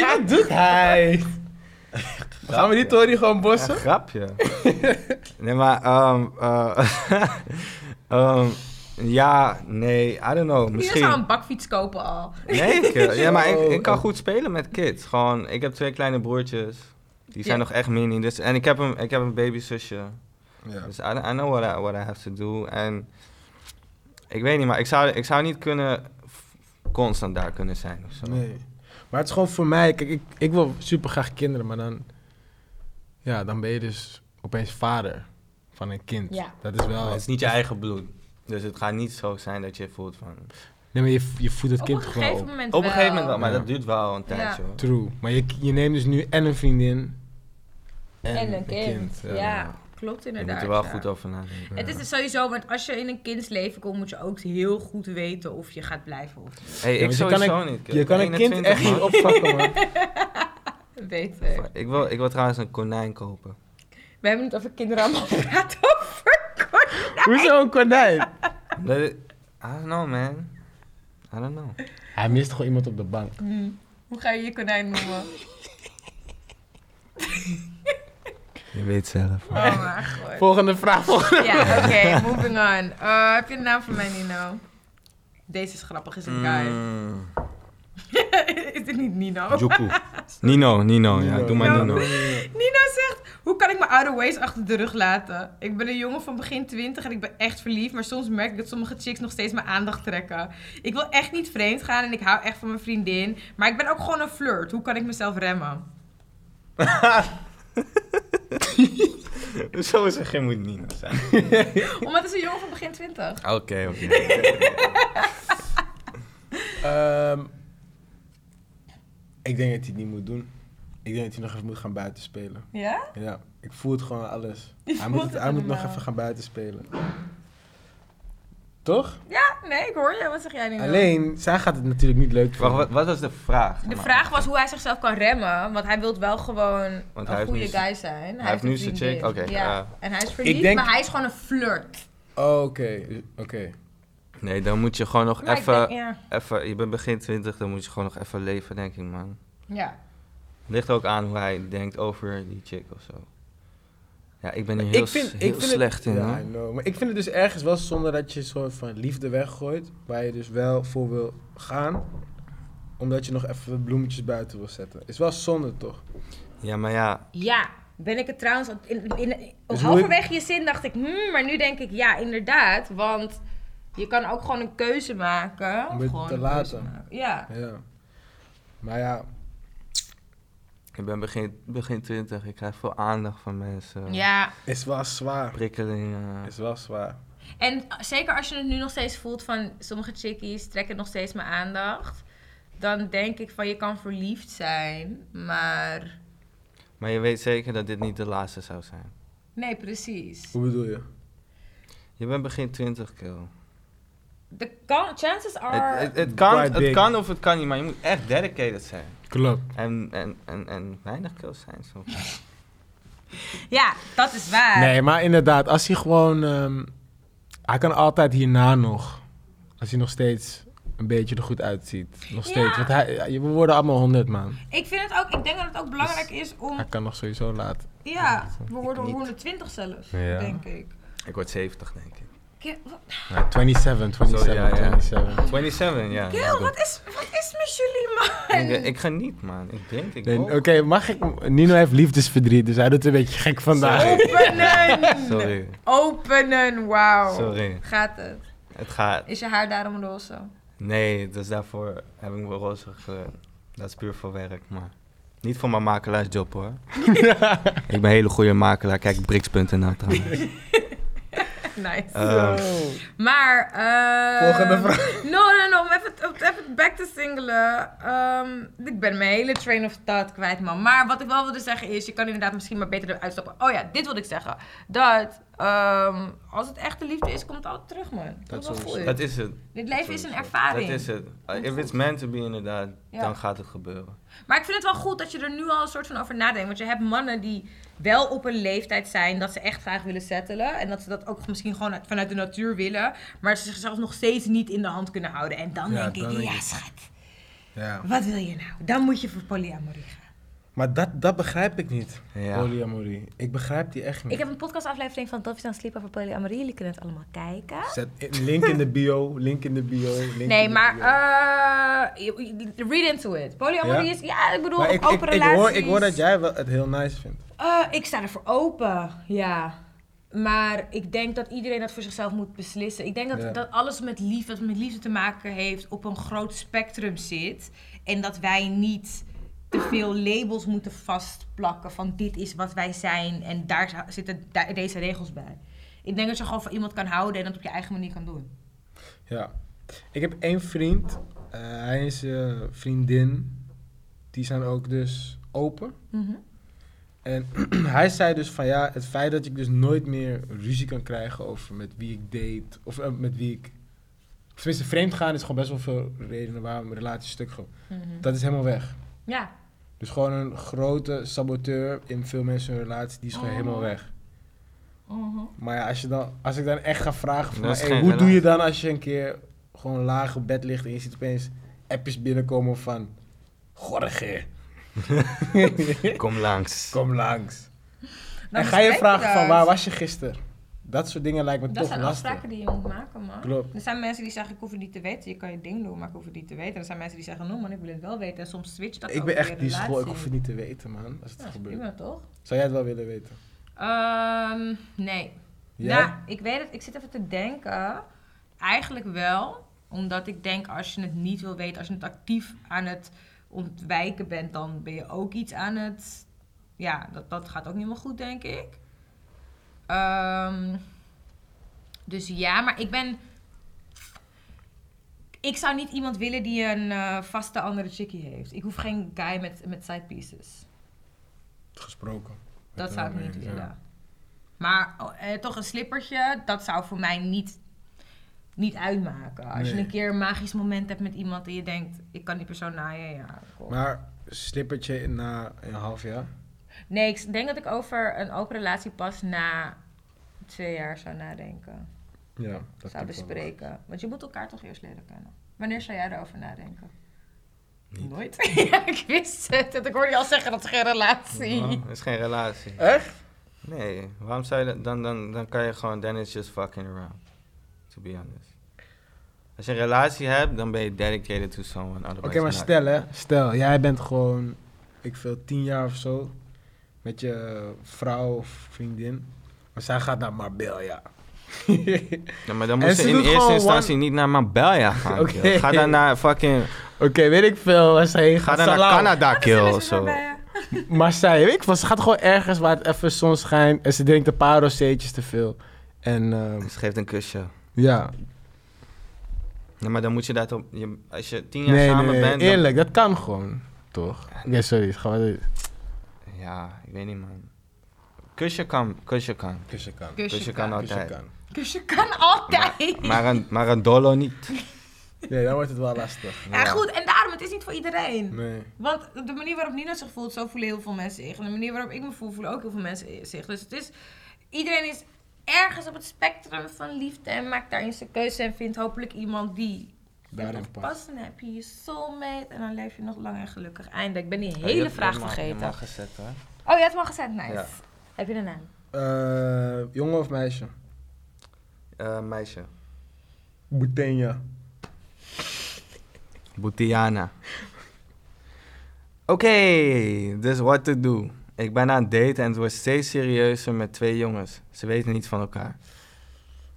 Speaker 5: dat doet hij. Gaan we die Tory gewoon bossen?
Speaker 3: Een grapje. nee, maar... ehm, eh, ehm, ja, nee, I don't know.
Speaker 1: Misschien. zou
Speaker 3: Misschien...
Speaker 1: een bakfiets kopen al.
Speaker 3: Nee, ik, eh, ja, maar ik, ik kan goed spelen met kids. Gewoon, ik heb twee kleine broertjes. Die zijn
Speaker 1: Ja.
Speaker 3: nog echt mini. Dus, en ik heb een, ik heb een babyzusje.
Speaker 5: Ja.
Speaker 3: Dus I, I know what I, what I have to do. En ik weet niet, maar ik zou, ik zou niet kunnen... f- constant daar kunnen zijn of zo.
Speaker 5: Nee.
Speaker 2: Maar het is gewoon voor mij, kijk, ik, ik wil super graag kinderen, maar dan, ja, dan ben je dus opeens vader van een kind.
Speaker 4: Ja.
Speaker 2: Dat is wel.
Speaker 3: Maar Het is niet je eigen bloed. Dus het gaat niet zo zijn dat je voelt van...
Speaker 2: Nee, maar je, je voedt het
Speaker 1: Op een
Speaker 2: kind gewoon
Speaker 1: gegeven
Speaker 2: op.
Speaker 1: moment
Speaker 3: Op een gegeven moment wel, maar
Speaker 2: Ja.
Speaker 3: dat duurt wel een tijdje. hoor.
Speaker 2: True. Maar je, je neemt dus nu en een vriendin en,
Speaker 1: En een kind. Ja,
Speaker 2: ja.
Speaker 1: klopt
Speaker 3: Je
Speaker 1: inderdaad.
Speaker 3: moet er wel
Speaker 1: ja.
Speaker 3: goed over nadenken.
Speaker 1: eh, Het is dus sowieso, want als je in een kindsleven komt, moet je ook heel goed weten of je gaat blijven of niet.
Speaker 3: Hey,
Speaker 2: Ja,
Speaker 3: ik
Speaker 2: want je
Speaker 3: sowieso
Speaker 2: kan
Speaker 3: niet.
Speaker 2: Je kan een kind echt niet
Speaker 3: 21,
Speaker 2: opvakken, man.
Speaker 1: Beter.
Speaker 3: man. Ik wil, ik wil trouwens een konijn kopen.
Speaker 1: We hebben het over kinderen allemaal gepraat over konijn.
Speaker 2: Hoezo een konijn?
Speaker 3: Dat is- I don't know, man. I don't know.
Speaker 2: Hij mist gewoon iemand op de bank.
Speaker 1: Hoe ga je je konijn noemen?
Speaker 3: Je weet zelf.
Speaker 1: Oh mijn god.
Speaker 2: Volgende vraag. volgende-
Speaker 1: Ja, oké, moving on. Eh, heb je een naam voor mij, Nino? Deze is grappig, is een
Speaker 3: Mm.
Speaker 1: guy. is dit niet Nino?
Speaker 3: Hmm, Joekoe. Nino, Nino, ja,
Speaker 5: Nino.
Speaker 3: doe maar
Speaker 1: Nino.
Speaker 3: Nino.
Speaker 1: Nino zegt, hoe kan ik mijn oude ways achter de rug laten? Ik ben een jongen van begin 20 en ik ben echt verliefd, maar soms merk ik dat sommige chicks nog steeds mijn aandacht trekken. Ik wil echt niet vreemd gaan en ik hou echt van mijn vriendin, maar ik ben ook gewoon een flirt. Hoe kan ik mezelf remmen?
Speaker 3: Zo is er geen moet Nino zijn.
Speaker 1: Omdat het is een jongen van begin 20.
Speaker 3: Oké, oké.
Speaker 5: Ehm, ik denk dat hij het niet moet doen. Ik denk dat hij nog even moet gaan buiten spelen.
Speaker 1: Ja?
Speaker 5: Ja, ik voel het gewoon aan alles. Hij
Speaker 1: voelt
Speaker 5: moet, het-
Speaker 1: het
Speaker 5: hij moet nog
Speaker 1: helemaal.
Speaker 5: even gaan buiten spelen. Toch?
Speaker 1: Ja, nee, ik hoor je. Wat zeg jij nu?
Speaker 2: Alleen, zij gaat het natuurlijk niet leuk
Speaker 3: Wacht,
Speaker 2: vinden.
Speaker 3: wat, wat was de vraag?
Speaker 1: De vraag was hoe hij zichzelf kan remmen, want hij wil wel gewoon een
Speaker 3: Want hij heeft
Speaker 1: goede
Speaker 3: nu zijn-
Speaker 1: guy zijn.
Speaker 3: hij heeft
Speaker 1: een
Speaker 3: nu zijn
Speaker 1: vriendin.
Speaker 3: chick, oké,
Speaker 1: Ja.
Speaker 3: ja.
Speaker 1: En hij is verliefd,
Speaker 5: denk-
Speaker 1: maar hij is gewoon een flirt.
Speaker 5: Oh, Oké, oké.
Speaker 3: Nee, dan moet je gewoon nog
Speaker 1: Maar ik denk-
Speaker 3: even...
Speaker 1: ja.
Speaker 3: even- Je bent begin 20, dan moet je gewoon nog even leven, denk ik, man.
Speaker 1: ja.
Speaker 3: Ligt ook aan hoe hij denkt over die chick of zo. Ja, ik ben hier
Speaker 5: Ik
Speaker 3: heel,
Speaker 5: vind-
Speaker 3: s-
Speaker 5: ik
Speaker 3: heel
Speaker 5: vind het-
Speaker 3: slecht in.
Speaker 5: Ja,
Speaker 3: hoor.
Speaker 5: I know. Maar ik vind het dus ergens wel zonde dat je een soort van liefde weggooit. Waar je dus wel voor wil gaan. Omdat je nog even bloemetjes buiten wil zetten. Is wel zonde toch?
Speaker 3: Ja, maar ja.
Speaker 1: Ja, ben ik het trouwens. In, in, in-
Speaker 5: Dus
Speaker 1: halverwege je zin dacht ik, hmm, maar nu denk ik ja, inderdaad. Want je kan ook gewoon een keuze maken.
Speaker 5: Om het
Speaker 1: gewoon
Speaker 5: te
Speaker 1: een
Speaker 5: laten.
Speaker 1: keuze maken. Ja.
Speaker 5: Ja. Maar ja,
Speaker 3: Ik ben begin, begin 20, ik krijg veel aandacht van mensen.
Speaker 1: ja.
Speaker 5: is wel zwaar.
Speaker 3: Prikkelingen.
Speaker 5: Is wel zwaar.
Speaker 1: En zeker als je het nu nog steeds voelt van sommige chickies trekken nog steeds mijn aandacht. dan denk ik van je kan verliefd zijn, maar
Speaker 3: Maar je weet zeker dat dit niet de laatste zou zijn.
Speaker 1: nee, precies.
Speaker 5: Hoe bedoel je?
Speaker 3: Je bent begin 20 kill.
Speaker 1: De kan- chances are.
Speaker 3: Het, het, het kan,
Speaker 5: Quite
Speaker 3: het
Speaker 5: big.
Speaker 3: kan of het kan niet, maar je moet echt dedicated zijn.
Speaker 2: Klopt.
Speaker 3: En, en, en, en weinig kills zijn soms.
Speaker 1: Ja, dat is waar.
Speaker 2: Nee, maar inderdaad, als hij gewoon... ehm, hij kan altijd hierna nog, als hij nog steeds een beetje er goed uitziet. Nog steeds.
Speaker 1: Ja.
Speaker 2: Want hij, we worden allemaal 100 man.
Speaker 1: Ik vind het ook. Ik denk dat het ook belangrijk is om.
Speaker 2: Hij
Speaker 5: Ah,
Speaker 2: kan nog sowieso laat.
Speaker 1: Ja, we worden
Speaker 3: niet.
Speaker 1: 120 zelfs,
Speaker 2: Ja.
Speaker 1: denk ik.
Speaker 3: Ik word 70, denk ik.
Speaker 1: Ki- wa-
Speaker 3: Oh
Speaker 2: Ja, 27, 27,
Speaker 3: Sorry, ja, ja.
Speaker 2: 27.
Speaker 3: 27, ja.
Speaker 1: Kill, wat is, wat is met jullie, man?
Speaker 3: Ik, ik niet, man. Ik drink, ik
Speaker 2: Nee,
Speaker 3: rook.
Speaker 1: Oh.
Speaker 2: Oké, mag ik... Nino heeft liefdesverdriet, dus hij doet een beetje gek vandaag.
Speaker 3: Sorry.
Speaker 1: Openen!
Speaker 3: Sorry.
Speaker 1: Openen, wauw.
Speaker 3: Sorry.
Speaker 1: Gaat het?
Speaker 3: Het gaat.
Speaker 1: Is je haar daarom roze?
Speaker 3: Nee, dus daarvoor heb ik me roze gekleurd. Dat is puur voor werk, maar niet voor mijn makelaarsjob hoor. ik ben een hele goede makelaar. Kijk, brix.nl trouwens.
Speaker 1: Nice.
Speaker 3: Ehm,
Speaker 1: Maar, eh...
Speaker 5: Volgende
Speaker 1: vraag. No, no, no, om even, om even back te singelen. Ehm, ik ben mijn hele train of thought kwijt, man. Maar wat ik wel wilde zeggen is, je kan inderdaad misschien maar beter eruit stappen. Oh ja, dit wilde ik zeggen. Dat, ehm, als het echte liefde is, komt het altijd terug, man. Dat, is wel goed.
Speaker 3: dat is het.
Speaker 1: Dit leven is een
Speaker 3: Sowieso.
Speaker 1: ervaring.
Speaker 3: Dat is het. If it's meant to be inderdaad,
Speaker 1: Ja.
Speaker 3: dan gaat het gebeuren.
Speaker 1: Maar ik vind het wel goed dat je er nu al een soort van over nadenkt. Want je hebt mannen die wel op een leeftijd zijn dat ze echt graag willen settelen. En dat ze dat ook misschien gewoon uit- vanuit de natuur willen. Maar ze zichzelf nog steeds niet in de hand kunnen houden. En dan
Speaker 5: Ja,
Speaker 1: denk ik,
Speaker 5: dan denk
Speaker 1: ja
Speaker 5: ik-
Speaker 1: schat,
Speaker 5: Ja.
Speaker 1: wat wil je nou? Dan moet je voor polyamorie gaan.
Speaker 5: Maar dat, dat begrijp ik niet.
Speaker 3: Ja.
Speaker 5: Polyamorie. Ik begrijp die echt niet.
Speaker 4: Ik heb een podcastaflevering van Dolphins aan Sleep over polyamorie. Jullie kunnen het allemaal kijken.
Speaker 5: Zet in- link in de bio, link in de bio, link in
Speaker 1: Nee,
Speaker 5: de
Speaker 1: maar
Speaker 5: bio.
Speaker 1: eh, je- je- read into it. Polyamorie
Speaker 5: Ja?
Speaker 1: is, ja, ik bedoel,
Speaker 5: Maar
Speaker 1: of
Speaker 5: ik, ik,
Speaker 1: open
Speaker 5: ik,
Speaker 1: relaties.
Speaker 5: hoor, ik hoor dat jij wel het heel nice vindt.
Speaker 1: Eh, ik sta ervoor open, ja. Maar ik denk dat iedereen dat voor zichzelf moet beslissen. Ik denk dat,
Speaker 5: Ja.
Speaker 1: dat alles met liefde, wat met liefde te maken heeft, op een groot spectrum zit. En dat wij niet te veel labels moeten vastplakken van dit is wat wij zijn en daar za- zitten da- deze regels bij. Ik denk dat je gewoon van iemand kan houden en dat op je eigen manier kan doen.
Speaker 5: Ja. Ik heb één vriend. eh, hij is zijn vriendin. Die zijn ook dus open.
Speaker 1: Mhm.
Speaker 5: En hij zei dus van ja, het feit dat ik dus nooit meer ruzie kan krijgen over met wie ik date. Of eh, met wie ik... Tenminste, vreemd gaan is gewoon best wel veel redenen waarom een relatie stuk gaat. Dat is helemaal weg.
Speaker 1: Ja,
Speaker 5: Dus gewoon een grote saboteur in veel mensen hun relatie, die is gewoon helemaal weg.
Speaker 1: Mhm.
Speaker 5: Maar ja, als, je dan, als ik dan echt ga vragen van,
Speaker 3: Dat is
Speaker 5: hey,
Speaker 3: geen
Speaker 5: hoe doe je
Speaker 3: relatie.
Speaker 5: dan als je een keer gewoon laag op bed ligt en je ziet opeens appjes binnenkomen van, Gorge,
Speaker 3: Kom langs.
Speaker 5: kom langs.
Speaker 1: Dan
Speaker 5: en ga je
Speaker 1: bespreek je
Speaker 5: vragen
Speaker 1: Nou, dat.
Speaker 5: van, waar was je gisteren? Dat soort dingen lijkt me
Speaker 1: dat
Speaker 5: toch
Speaker 1: zijn
Speaker 5: lastig.
Speaker 1: afspraken die je moet maken, man.
Speaker 5: Klopt.
Speaker 1: Er zijn mensen die zeggen, ik hoef het niet te weten. Je kan je ding doen, maar ik hoef het niet te weten. En er zijn mensen die zeggen, no man, ik wil het wel weten. En soms switcht dat
Speaker 5: Ik
Speaker 1: ook
Speaker 5: ben
Speaker 1: in
Speaker 5: echt
Speaker 1: je
Speaker 5: die school, ik
Speaker 1: relatie.
Speaker 5: hoef het niet te weten man, als het
Speaker 1: Ja, dat is
Speaker 5: gebeurt.
Speaker 1: prima, toch?
Speaker 5: Zou jij het wel willen weten?
Speaker 1: Ehm, nee.
Speaker 5: Jij?
Speaker 1: Ja, ik weet het. Ik zit even te denken. Eigenlijk wel. Omdat ik denk, als je het niet wil weten, als je het actief aan het ontwijken bent, dan ben je ook iets aan het... Ja, dat, dat gaat ook niet helemaal goed, denk ik. Ehm, dus ja, maar ik ben... Ik zou niet iemand willen die een eh, vaste andere chickie heeft. Ik hoef geen guy met, met side pieces.
Speaker 5: Gesproken.
Speaker 1: Dat
Speaker 5: Met
Speaker 1: zou
Speaker 5: hem
Speaker 1: ik niet
Speaker 5: mee,
Speaker 1: willen.
Speaker 5: ja.
Speaker 1: Maar oh, eh, toch een slippertje, dat zou voor mij niet, niet uitmaken. Als je
Speaker 5: Nee.
Speaker 1: een keer een magisch moment hebt met iemand en je denkt, ik kan die persoon naaien, ja. cool.
Speaker 5: Maar slippertje na een half jaar?
Speaker 1: Nee, ik denk dat ik over een open relatie pas na twee jaar zou nadenken.
Speaker 5: Ja, dat klinkt wel
Speaker 1: zou
Speaker 5: logisch.
Speaker 1: bespreken. Want je moet elkaar toch eerst leren kennen. Wanneer zou jij erover nadenken?
Speaker 3: Niet.
Speaker 1: Nooit. ja, ik wist het. Ik hoorde je al zeggen dat is geen relatie.
Speaker 3: Oh, dat is geen relatie.
Speaker 5: Echt?
Speaker 3: Nee, waarom zou je dat? Dan, dan, dan kan je gewoon, then it's just fucking around. To be honest. Als je een relatie hebt, dan ben je dedicated to someone.
Speaker 5: Oké,
Speaker 3: otherwise
Speaker 5: maar
Speaker 3: not.
Speaker 5: stel hè, stel jij bent gewoon, ik veel, tien jaar of zo, met je vrouw of vriendin, maar zij gaat naar Marbella.
Speaker 3: Ja, maar dan
Speaker 5: En
Speaker 3: moet
Speaker 5: ze
Speaker 3: ze in
Speaker 5: doet
Speaker 3: eerste
Speaker 5: gewoon
Speaker 3: instantie niet naar Marbella gaan.
Speaker 5: Oké.
Speaker 3: kill. Ga dan naar fucking.
Speaker 2: Oké, weet ik veel waar ze heen
Speaker 3: Ga dan naar
Speaker 2: Salau.
Speaker 3: Canada kill of zo.
Speaker 2: Marseille, weet ik veel. Ze gaat gewoon ergens waar het even zon schijnt en ze drinkt een paar rozeetjes te veel. En ehm,
Speaker 3: Ze geeft een kusje.
Speaker 2: ja,
Speaker 3: Ja, maar dan moet je daar toch... je- als je tien jaar
Speaker 2: Nee, nee,
Speaker 3: samen
Speaker 2: nee,
Speaker 3: bent... dan-
Speaker 2: eerlijk, dat kan gewoon, toch? Oké, sorry, ga maar door.
Speaker 3: Ja, ik weet niet, man. Kusje kan, kusje kan.
Speaker 5: Kussen kan.
Speaker 3: Kusje kan
Speaker 5: Kussen
Speaker 3: altijd.
Speaker 5: kan.
Speaker 1: Dus je kan altijd.
Speaker 3: Maar een, maar een dolo niet.
Speaker 5: Nee, dan wordt het wel lastig.
Speaker 1: Ja, goed, en daarom, het is niet voor iedereen.
Speaker 5: Nee.
Speaker 1: Want de manier waarop Nina zich voelt, zo voelen heel veel mensen zich. En de manier waarop ik me voel, voelen ook heel veel mensen zich. Dus het is, iedereen is ergens op het spectrum van liefde en maakt daarin zijn keuze en vindt hopelijk iemand die
Speaker 5: Daarin past.
Speaker 1: past. En dan heb je je soulmate en dan leef je nog lang en gelukkig. Einde, ik ben die
Speaker 3: Ja,
Speaker 1: hele
Speaker 3: je hebt-
Speaker 1: vraag
Speaker 3: je mag- je
Speaker 1: vergeten.
Speaker 3: mag gezet, hoor.
Speaker 1: Oh, je hebt hem al gezet, nice.
Speaker 3: Ja.
Speaker 1: Heb je een naam?
Speaker 5: Eh, jongen of meisje?
Speaker 3: Eh, meisje.
Speaker 5: Boetenja.
Speaker 3: Boetiana. Oké, dus what to do. Ik ben aan het daten en het wordt steeds serieuzer met twee jongens. Ze weten niet van elkaar.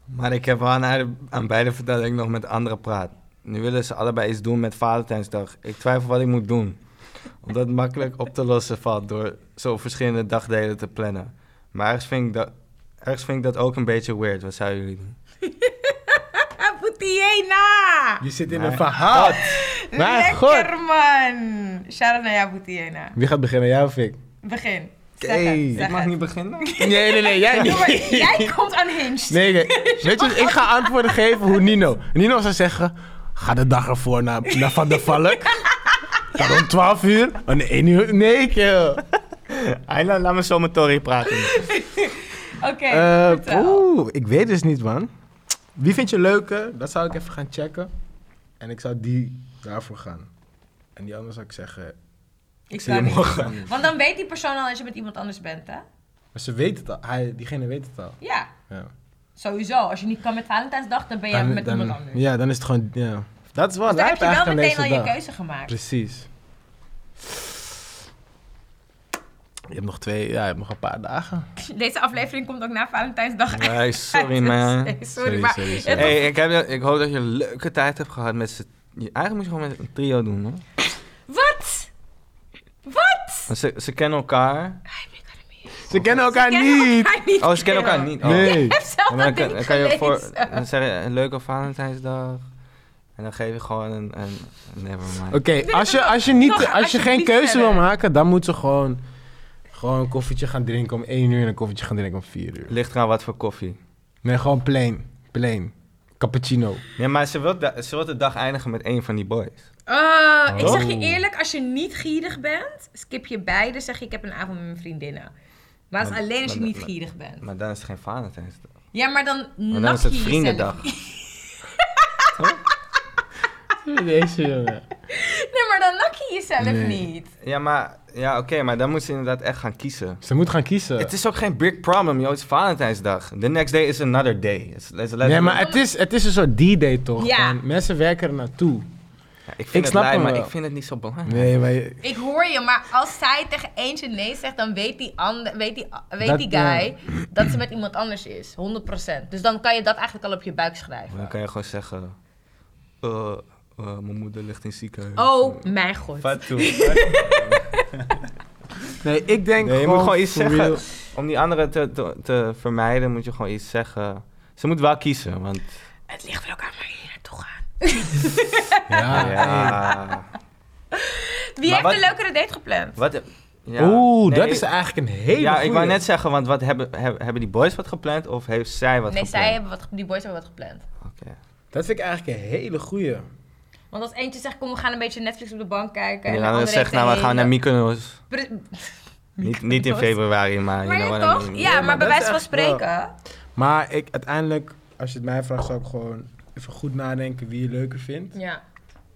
Speaker 3: Maar ik heb wel aan, haar- aan beide verteld dat ik nog met anderen praat. Nu willen ze allebei iets doen met Valentijnsdag. Ik twijfel wat ik moet doen. Omdat het makkelijk op te lossen valt door zo verschillende dagdelen te plannen. Maar ergens vind ik dat, ergens vind ik dat ook een beetje weird. Wat zouden jullie doen?
Speaker 1: Ah, Boutiena!
Speaker 5: Je zit in
Speaker 3: Nee.
Speaker 5: een verhaal.
Speaker 2: Maar god,
Speaker 1: Lekker man! Shout-out naar jou, Boutiena.
Speaker 2: wie gaat beginnen, jij of ik?
Speaker 1: Begin. Zeg
Speaker 3: Oké,
Speaker 1: het, zeg
Speaker 3: ik mag
Speaker 1: het.
Speaker 3: niet beginnen?
Speaker 2: Nee, nee, nee, jij
Speaker 1: Doe
Speaker 2: niet.
Speaker 1: maar, jij komt aan Hinge.
Speaker 2: Nee, nee. Weet je, ik ga antwoorden geven hoe Nino. Nino zou zeggen, ga de dag ervoor naar, naar Van der Valk. Ga om 12 uur. Oh, nee, 1 uur. Nee, eh, kill.
Speaker 3: Ayla, laat me zo met Tori praten.
Speaker 1: Oké,
Speaker 2: Eh,
Speaker 1: vertel.
Speaker 2: Oeh, ik weet dus niet, man.
Speaker 5: Wie vind je leuker? Dat zou ik even gaan checken. En ik zou die daarvoor gaan. En die andere zou ik zeggen.
Speaker 1: Ik
Speaker 3: zie je
Speaker 1: kan niet.
Speaker 5: morgen.
Speaker 1: Want dan weet die persoon al als je met iemand anders bent, hè?
Speaker 5: Maar ze weet het al. Hij, diegene weet het al.
Speaker 1: Ja,
Speaker 5: Ja.
Speaker 1: sowieso. Als je niet kan met Valentijnsdag, dan ben je met
Speaker 2: dan,
Speaker 1: iemand anders.
Speaker 2: ja, dan is het gewoon, ja.
Speaker 5: Dat is wel
Speaker 1: Dus dan heb
Speaker 5: lijp
Speaker 1: je wel
Speaker 5: eigenlijk aan
Speaker 1: meteen
Speaker 5: deze
Speaker 1: al je
Speaker 5: dag.
Speaker 1: keuze gemaakt.
Speaker 2: Precies. Je hebt nog twee, ja, je hebt nog een paar dagen.
Speaker 1: Deze aflevering komt ook na Valentijnsdag. uit.
Speaker 3: Nee, sorry man.
Speaker 1: Nee, sorry,
Speaker 2: Sorry,
Speaker 1: maar
Speaker 2: sorry, sorry.
Speaker 1: het was-
Speaker 3: Hey, ik, heb, ik hoop dat je een leuke tijd hebt gehad met z'n... je- Eigenlijk moet je gewoon met een trio doen, hoor.
Speaker 1: Wat? Wat?
Speaker 3: Want Ze, ze kennen elkaar.
Speaker 2: Ze kennen elkaar
Speaker 1: Ze kennen
Speaker 2: niet.
Speaker 1: elkaar niet.
Speaker 3: Oh, ze kennen elkaar niet. Oh.
Speaker 2: Nee.
Speaker 1: Ik heb zelf
Speaker 3: Ja,
Speaker 1: dat
Speaker 3: maar dan, kan,
Speaker 1: ding
Speaker 3: dan kan je voor...
Speaker 1: gelezen.
Speaker 3: Dan zeg je een leuke Valentijnsdag. En dan geef je gewoon een... een nevermind.
Speaker 2: Oké, als, je, als je, niet,
Speaker 1: Nog
Speaker 2: als je geen
Speaker 1: alsjeblieft
Speaker 2: keuze wil
Speaker 1: verder.
Speaker 2: maken, dan moet ze gewoon, gewoon een koffietje gaan drinken om 1 uur en een koffietje gaan drinken om 4 uur.
Speaker 3: Ligt eraan wat voor koffie.
Speaker 2: Nee, gewoon plain. Plain. Cappuccino.
Speaker 3: Nee, maar ze wil, da- ze wil de dag eindigen met één van die boys.
Speaker 1: Eh, ik
Speaker 2: Oh.
Speaker 1: zeg je eerlijk, als je niet gierig bent, skip je beide. Zeg je, ik heb een avond met mijn vriendinnen. Maar dat is
Speaker 3: Maar-
Speaker 1: alleen als je
Speaker 3: maar-
Speaker 1: niet
Speaker 3: maar-
Speaker 1: gierig bent.
Speaker 3: Maar dan is het geen Valentijnsdag.
Speaker 1: Ja, maar dan
Speaker 3: Maar dan
Speaker 1: nap
Speaker 3: is
Speaker 1: je
Speaker 3: het
Speaker 1: jezelf.
Speaker 3: vriendendag.
Speaker 2: Deze jongen.
Speaker 1: Nee, maar dan nak je jezelf
Speaker 2: Nee.
Speaker 1: niet.
Speaker 3: Ja, maar... Ja, oké, maar dan moet ze inderdaad echt gaan kiezen.
Speaker 2: Ze moet gaan kiezen.
Speaker 3: Het is ook geen big problem, joh. Het is Valentijnsdag. The next day is another day. It's- it's letterlijk-
Speaker 2: nee, maar het is, het is een soort D-day toch?
Speaker 1: Ja.
Speaker 2: Van, mensen werken er naartoe.
Speaker 3: Ja, ik vind
Speaker 2: ik
Speaker 3: het
Speaker 2: snap
Speaker 3: lui,
Speaker 2: hem
Speaker 3: maar
Speaker 2: wel.
Speaker 3: ik vind het niet zo belangrijk.
Speaker 2: Nee, maar je-
Speaker 1: Ik hoor je, maar als zij tegen eentje nee zegt, dan weet die, ander, weet die, weet
Speaker 2: Dat,
Speaker 1: die guy dat ze met iemand anders is. 100%. Dus dan kan je dat eigenlijk al op je buik schrijven.
Speaker 3: Dan kan je gewoon zeggen... eh, eh, mijn moeder ligt in het ziekenhuis.
Speaker 1: Oh mijn god.
Speaker 3: Fatou.
Speaker 2: Nee, ik denk
Speaker 3: Nee, je moet gewoon iets
Speaker 2: for
Speaker 3: zeggen.
Speaker 2: real.
Speaker 3: Om die andere te, te, te vermijden, moet je gewoon iets zeggen. Ze moet wel kiezen, want...
Speaker 1: Het ligt er ook aan waar je hier naartoe gaat.
Speaker 2: Ja.
Speaker 1: Ah,
Speaker 3: ja.
Speaker 1: Wie
Speaker 3: Maar
Speaker 1: heeft
Speaker 3: wat-
Speaker 1: een leukere date gepland?
Speaker 3: Wat... Ja.
Speaker 2: Oeh,
Speaker 3: Nee,
Speaker 2: dat is eigenlijk een hele
Speaker 3: Ja, ik wou
Speaker 2: goeie.
Speaker 3: net zeggen, want wat hebben, heb- hebben die boys wat gepland of heeft zij wat
Speaker 1: nee,
Speaker 3: gepland?
Speaker 1: zij hebben wat, die boys hebben wat gepland.
Speaker 3: Oké.
Speaker 5: Dat vind ik eigenlijk een hele goeie.
Speaker 1: Want als eentje zegt, kom we gaan een beetje Netflix op de bank kijken.
Speaker 3: En
Speaker 1: de
Speaker 3: die andere
Speaker 1: andere
Speaker 3: zegt,
Speaker 1: heeft
Speaker 3: nou, we
Speaker 1: een
Speaker 3: gaan naar
Speaker 1: hele-
Speaker 3: Mykonos.
Speaker 1: Pre-
Speaker 3: Niet, niet in februari, maar...
Speaker 1: Maar
Speaker 3: you know
Speaker 1: ja,
Speaker 3: what I
Speaker 1: toch?
Speaker 3: mean.
Speaker 1: Ja, maar bij
Speaker 5: dat
Speaker 1: wijze
Speaker 5: is
Speaker 1: van
Speaker 5: echt wel-
Speaker 1: spreken.
Speaker 5: Maar ik, uiteindelijk, als je het mij vraagt, zou ik gewoon even goed nadenken wie je leuker vindt.
Speaker 1: Ja.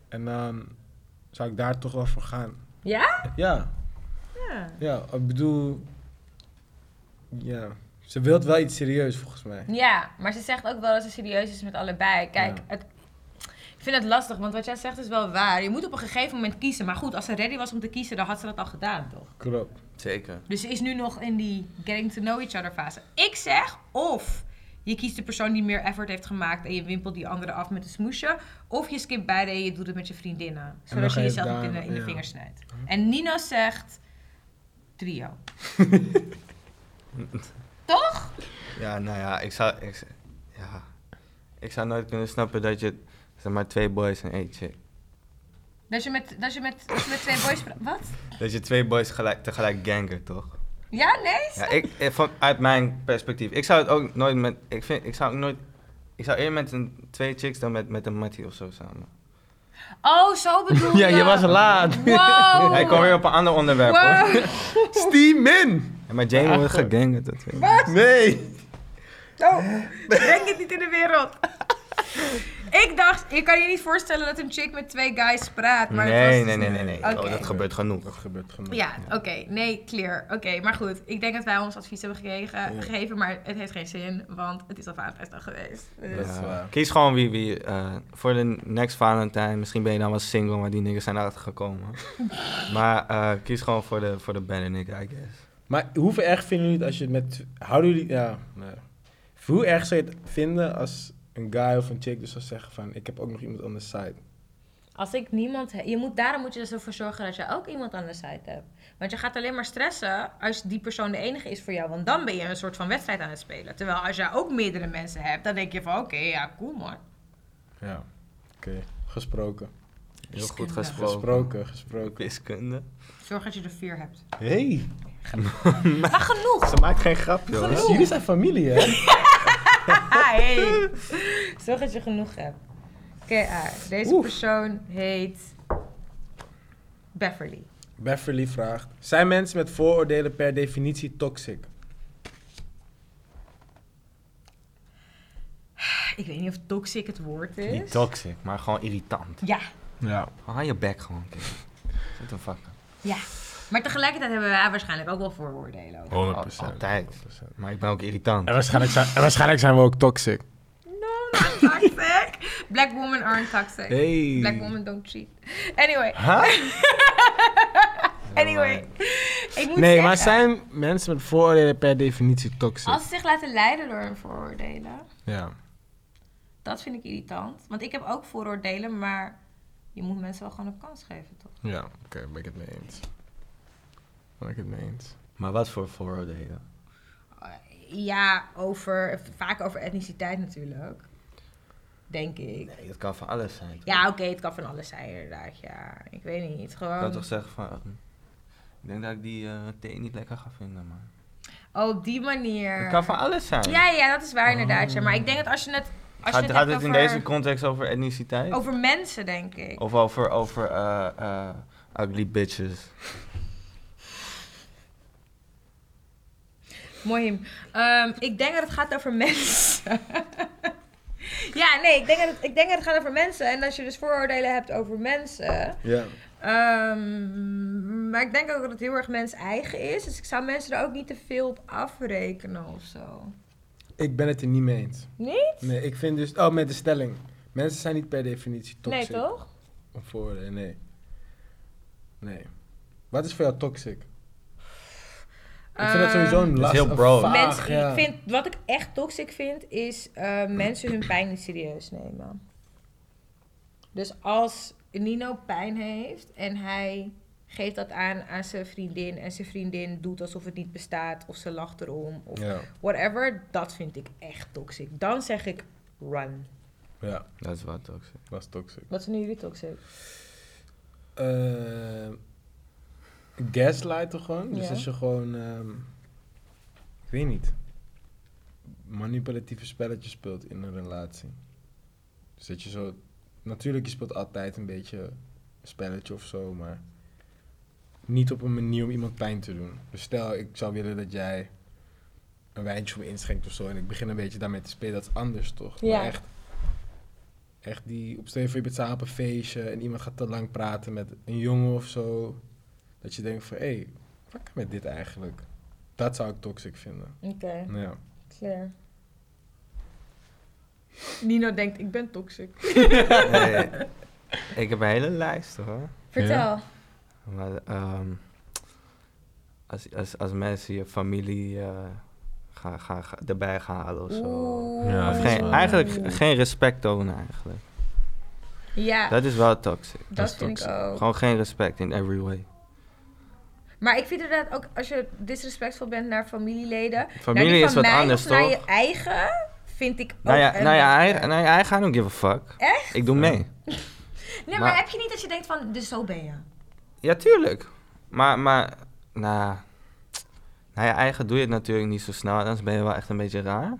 Speaker 5: En dan zou ik daar toch wel voor gaan.
Speaker 1: Ja?
Speaker 5: Ja,
Speaker 1: Ja.
Speaker 5: ja, ik bedoel. Ja. Ze wilt wel iets serieus volgens mij.
Speaker 1: Ja, maar ze zegt ook wel dat ze serieus is met allebei. Kijk,
Speaker 5: Ja.
Speaker 1: het, ik vind het lastig, want wat jij zegt is wel waar. Je moet op een gegeven moment kiezen. Maar goed, als ze ready was om te kiezen, dan had ze dat al gedaan, toch?
Speaker 5: Klopt.
Speaker 3: Zeker.
Speaker 1: Dus ze is nu nog in die getting to know each other fase. Ik zeg of je kiest de persoon die meer effort heeft gemaakt en je wimpelt die andere af met een smoesje. Of je skipt beide en je doet het met je vriendinnen. Zodat je
Speaker 5: ga je
Speaker 1: jezelf niet in de,
Speaker 5: daar-
Speaker 1: in de
Speaker 5: ja.
Speaker 1: vingers snijdt. En Nino zegt trio. Toch?
Speaker 3: Ja, nou ja, ik zou... Ik, ja. ik zou nooit kunnen snappen dat je Zeg maar twee boys en één chick.
Speaker 1: Dat je met, dat je met, dat je met twee boys... pra- Wat?
Speaker 3: Dat je twee boys gelijk, tegelijk ganger, toch?
Speaker 1: Ja, nee?
Speaker 3: Ja, ik, eh, van, uit mijn perspectief. Ik zou het ook nooit met. Ik, vind, ik zou ook nooit. Ik zou eerder met een, twee chicks dan met, met een Mattie of zo samen.
Speaker 1: Oh, zo bedoel
Speaker 2: Ja, je was laat.
Speaker 1: Wow.
Speaker 3: Hij kwam weer op een ander onderwerp hoor.
Speaker 1: Wow.
Speaker 2: Steam in!
Speaker 3: En maar Jane wordt gegangen, dat weet ik.
Speaker 2: Nee!
Speaker 1: Oh, Breng het niet in de wereld. ik dacht, je kan je niet voorstellen dat een chick met twee guys praat. Maar het
Speaker 3: Nee,
Speaker 1: was- dus
Speaker 3: nee, nee, nee. nee.
Speaker 1: Oké.
Speaker 3: Oh, dat gebeurt
Speaker 5: Dat
Speaker 3: genoeg.
Speaker 5: gebeurt genoeg.
Speaker 1: Ja, oké. Nee, clear. Oké, maar goed. Ik denk dat wij ons advies hebben gekregen, gegeven, maar het heeft geen zin, want het is al vaderdag geweest. Dus-
Speaker 5: Dat is waar.
Speaker 3: Kies gewoon wie. wie eh, voor de next Valentine. Misschien ben je dan wel single, maar die niggas zijn erachter gekomen. maar eh, kies gewoon voor de, voor de better nigga, I guess.
Speaker 5: Maar hoe erg vinden jullie het als je het met... Houden jullie... Ja, nee. Hoe erg zou je het vinden als een guy of een chick dus zou zeggen van... Ik heb ook nog iemand on the side.
Speaker 4: Als ik niemand he- je moet, daarom moet je er zo voor zorgen dat je ook iemand aan de site hebt.
Speaker 1: Want je gaat alleen maar stressen als die persoon de enige is voor jou, want dan ben je een soort van wedstrijd aan het spelen. Terwijl als jij ook meerdere mensen hebt, dan denk je van oké, ja, cool man.
Speaker 5: Ja. Oké. Gesproken.
Speaker 3: Heel goed
Speaker 1: Wiskunde.
Speaker 3: gesproken.
Speaker 5: Gesproken, gesproken.
Speaker 3: Wiskunde.
Speaker 1: Zorg dat je er vier hebt.
Speaker 5: Hey.
Speaker 1: Maar genoeg!
Speaker 3: Ze maakt geen grapje hoor.
Speaker 2: Oh.
Speaker 5: Dus jullie zijn familie, hè?
Speaker 1: Hey.
Speaker 4: Zorg dat je genoeg hebt.
Speaker 1: Oké, ah, deze
Speaker 5: Oef.
Speaker 1: persoon heet Beverly.
Speaker 5: Beverly vraagt... Zijn mensen met vooroordelen per definitie toxic?
Speaker 1: Ik weet niet of toxic het woord is.
Speaker 3: Niet toxic, maar gewoon irritant.
Speaker 1: Ja,
Speaker 2: Ja.
Speaker 3: Hou je bek gewoon, kind. Zet een fuck.
Speaker 1: ja. Maar tegelijkertijd hebben wij waarschijnlijk ook wel vooroordelen. over.
Speaker 5: 100%.
Speaker 3: Altijd. Maar ik ben ook irritant.
Speaker 2: En waarschijnlijk zijn, en waarschijnlijk zijn we ook toxic.
Speaker 1: No, not toxic. Black women aren't toxic.
Speaker 3: Oh. Hey.
Speaker 1: Black women don't cheat. Anyway, anyway. Ik moet
Speaker 2: Nee,
Speaker 1: zeggen,
Speaker 2: maar zijn mensen met vooroordelen per definitie toxic?
Speaker 1: als ze zich laten leiden door hun vooroordelen,
Speaker 2: Ja.
Speaker 1: dat vind ik irritant. Want ik heb ook vooroordelen, maar je moet mensen wel gewoon een kans geven, toch?
Speaker 2: Ja, oké, ben ik het mee eens. Ben ik het mee eens.
Speaker 3: Maar wat voor vooroordelen?
Speaker 1: Ja, over, vaak over etniciteit natuurlijk. Denk ik.
Speaker 3: Nee, dat kan van alles zijn. toch?
Speaker 1: Ja, oké, het kan van alles zijn inderdaad. Ja, ik weet niet.
Speaker 3: Ik kan
Speaker 1: Gewoon...
Speaker 3: toch zeggen van... eh, Ik denk dat ik die eh thee niet lekker ga vinden, man.
Speaker 1: Oh, op die manier.
Speaker 3: Het kan van alles zijn. Oh.
Speaker 1: Ja, ja, dat is waar inderdaad. ja. Maar ik denk dat als je het... Als je
Speaker 3: Gaat,
Speaker 1: het
Speaker 3: gaat
Speaker 1: hebt
Speaker 3: het in
Speaker 1: over-
Speaker 3: deze context Oh. over etniciteit?
Speaker 1: Over mensen, denk ik.
Speaker 3: Of over, over eh, eh, ugly bitches?
Speaker 1: Mohim. Ehm, ik denk dat het gaat over mensen. ja, nee, ik denk, dat het, ik denk dat het gaat over mensen. En als je dus vooroordelen hebt over mensen.
Speaker 5: Ja.
Speaker 1: ehm, maar ik denk ook dat het heel erg mens eigen is. Dus ik zou mensen er ook niet te veel op afrekenen of zo.
Speaker 5: Ik ben het er niet mee eens.
Speaker 1: Niet?
Speaker 5: Nee, ik vind dus... Oh, met de stelling. Mensen zijn niet per definitie
Speaker 1: Nee,
Speaker 5: toxic.
Speaker 1: toch?
Speaker 5: Of vooroordelen, nee. Nee. Wat is voor jou toxic? Ik vind dat sowieso een
Speaker 3: is
Speaker 5: last.
Speaker 3: heel
Speaker 5: een
Speaker 3: broad.
Speaker 5: vaag,
Speaker 1: Ehm, Mensen,
Speaker 5: ja.
Speaker 1: ik vind, wat ik echt toxic vind, is eh, mensen hun pijn niet serieus nemen. Dus als Nino pijn heeft en hij geeft dat aan aan zijn vriendin en zijn vriendin doet alsof het niet bestaat of ze lacht erom of
Speaker 5: Ja,
Speaker 1: whatever, dat vind ik echt toxic. Dan zeg ik run.
Speaker 5: ja,
Speaker 3: Dat is wel toxic.
Speaker 5: dat is toxic.
Speaker 1: Wat vinden jullie toxic?
Speaker 5: Eh, gaslighten gewoon. Dus
Speaker 1: Ja.
Speaker 5: als je gewoon, ehm, ik weet niet, manipulatieve spelletjes speelt in een relatie. Dus dat je zo, natuurlijk je speelt altijd een beetje een spelletje of zo, maar niet op een manier om iemand pijn te doen. Dus stel ik zou willen dat jij een wijntje voor me inschenkt of zo en ik begin een beetje daarmee te spelen, dat is anders toch? Maar
Speaker 1: Ja.
Speaker 5: echt, echt die, op stel je voor je bent samen op een feestje en iemand gaat te lang praten met een jongen of zo. Dat je denkt van, hé, hey, wat kan met dit eigenlijk? Dat zou ik toxic vinden.
Speaker 1: Oké,
Speaker 5: Ja.
Speaker 1: clear. Nino denkt, ik ben toxic.
Speaker 3: Nee, ik heb een hele lijst hoor.
Speaker 1: Vertel.
Speaker 3: Maar ehm, als, als, als mensen je familie eh gaan, gaan, gaan- erbij gaan halen of zo.
Speaker 2: Ja,
Speaker 3: Of
Speaker 2: dat is
Speaker 3: geen,
Speaker 2: wel-
Speaker 3: eigenlijk geen respect tonen eigenlijk.
Speaker 1: Ja, dat,
Speaker 3: Dat is wel toxic.
Speaker 2: dat is
Speaker 1: vind ik
Speaker 2: toxic.
Speaker 1: ook.
Speaker 3: Gewoon geen respect in every way.
Speaker 1: Maar ik vind inderdaad ook als je disrespectvol bent naar familieleden.
Speaker 3: Familie
Speaker 1: naar die
Speaker 3: is
Speaker 1: van
Speaker 3: wat
Speaker 1: mij
Speaker 3: anders
Speaker 1: of Naar Oh,
Speaker 3: toch?
Speaker 1: je eigen.
Speaker 7: vind ik ook.
Speaker 3: Nou ja,
Speaker 7: een
Speaker 3: nou ja, hij,
Speaker 7: lastige.
Speaker 3: nou ja, hij gaat ook give a fuck. Echt? Ik doe mee.
Speaker 1: Nee, maar,
Speaker 3: maar-
Speaker 1: heb je niet dat je denkt van, dus zo ben je?
Speaker 3: Ja, tuurlijk. Maar, maar, nou... Nou ja, eigen doe je het natuurlijk niet zo snel, anders ben je wel echt een beetje raar.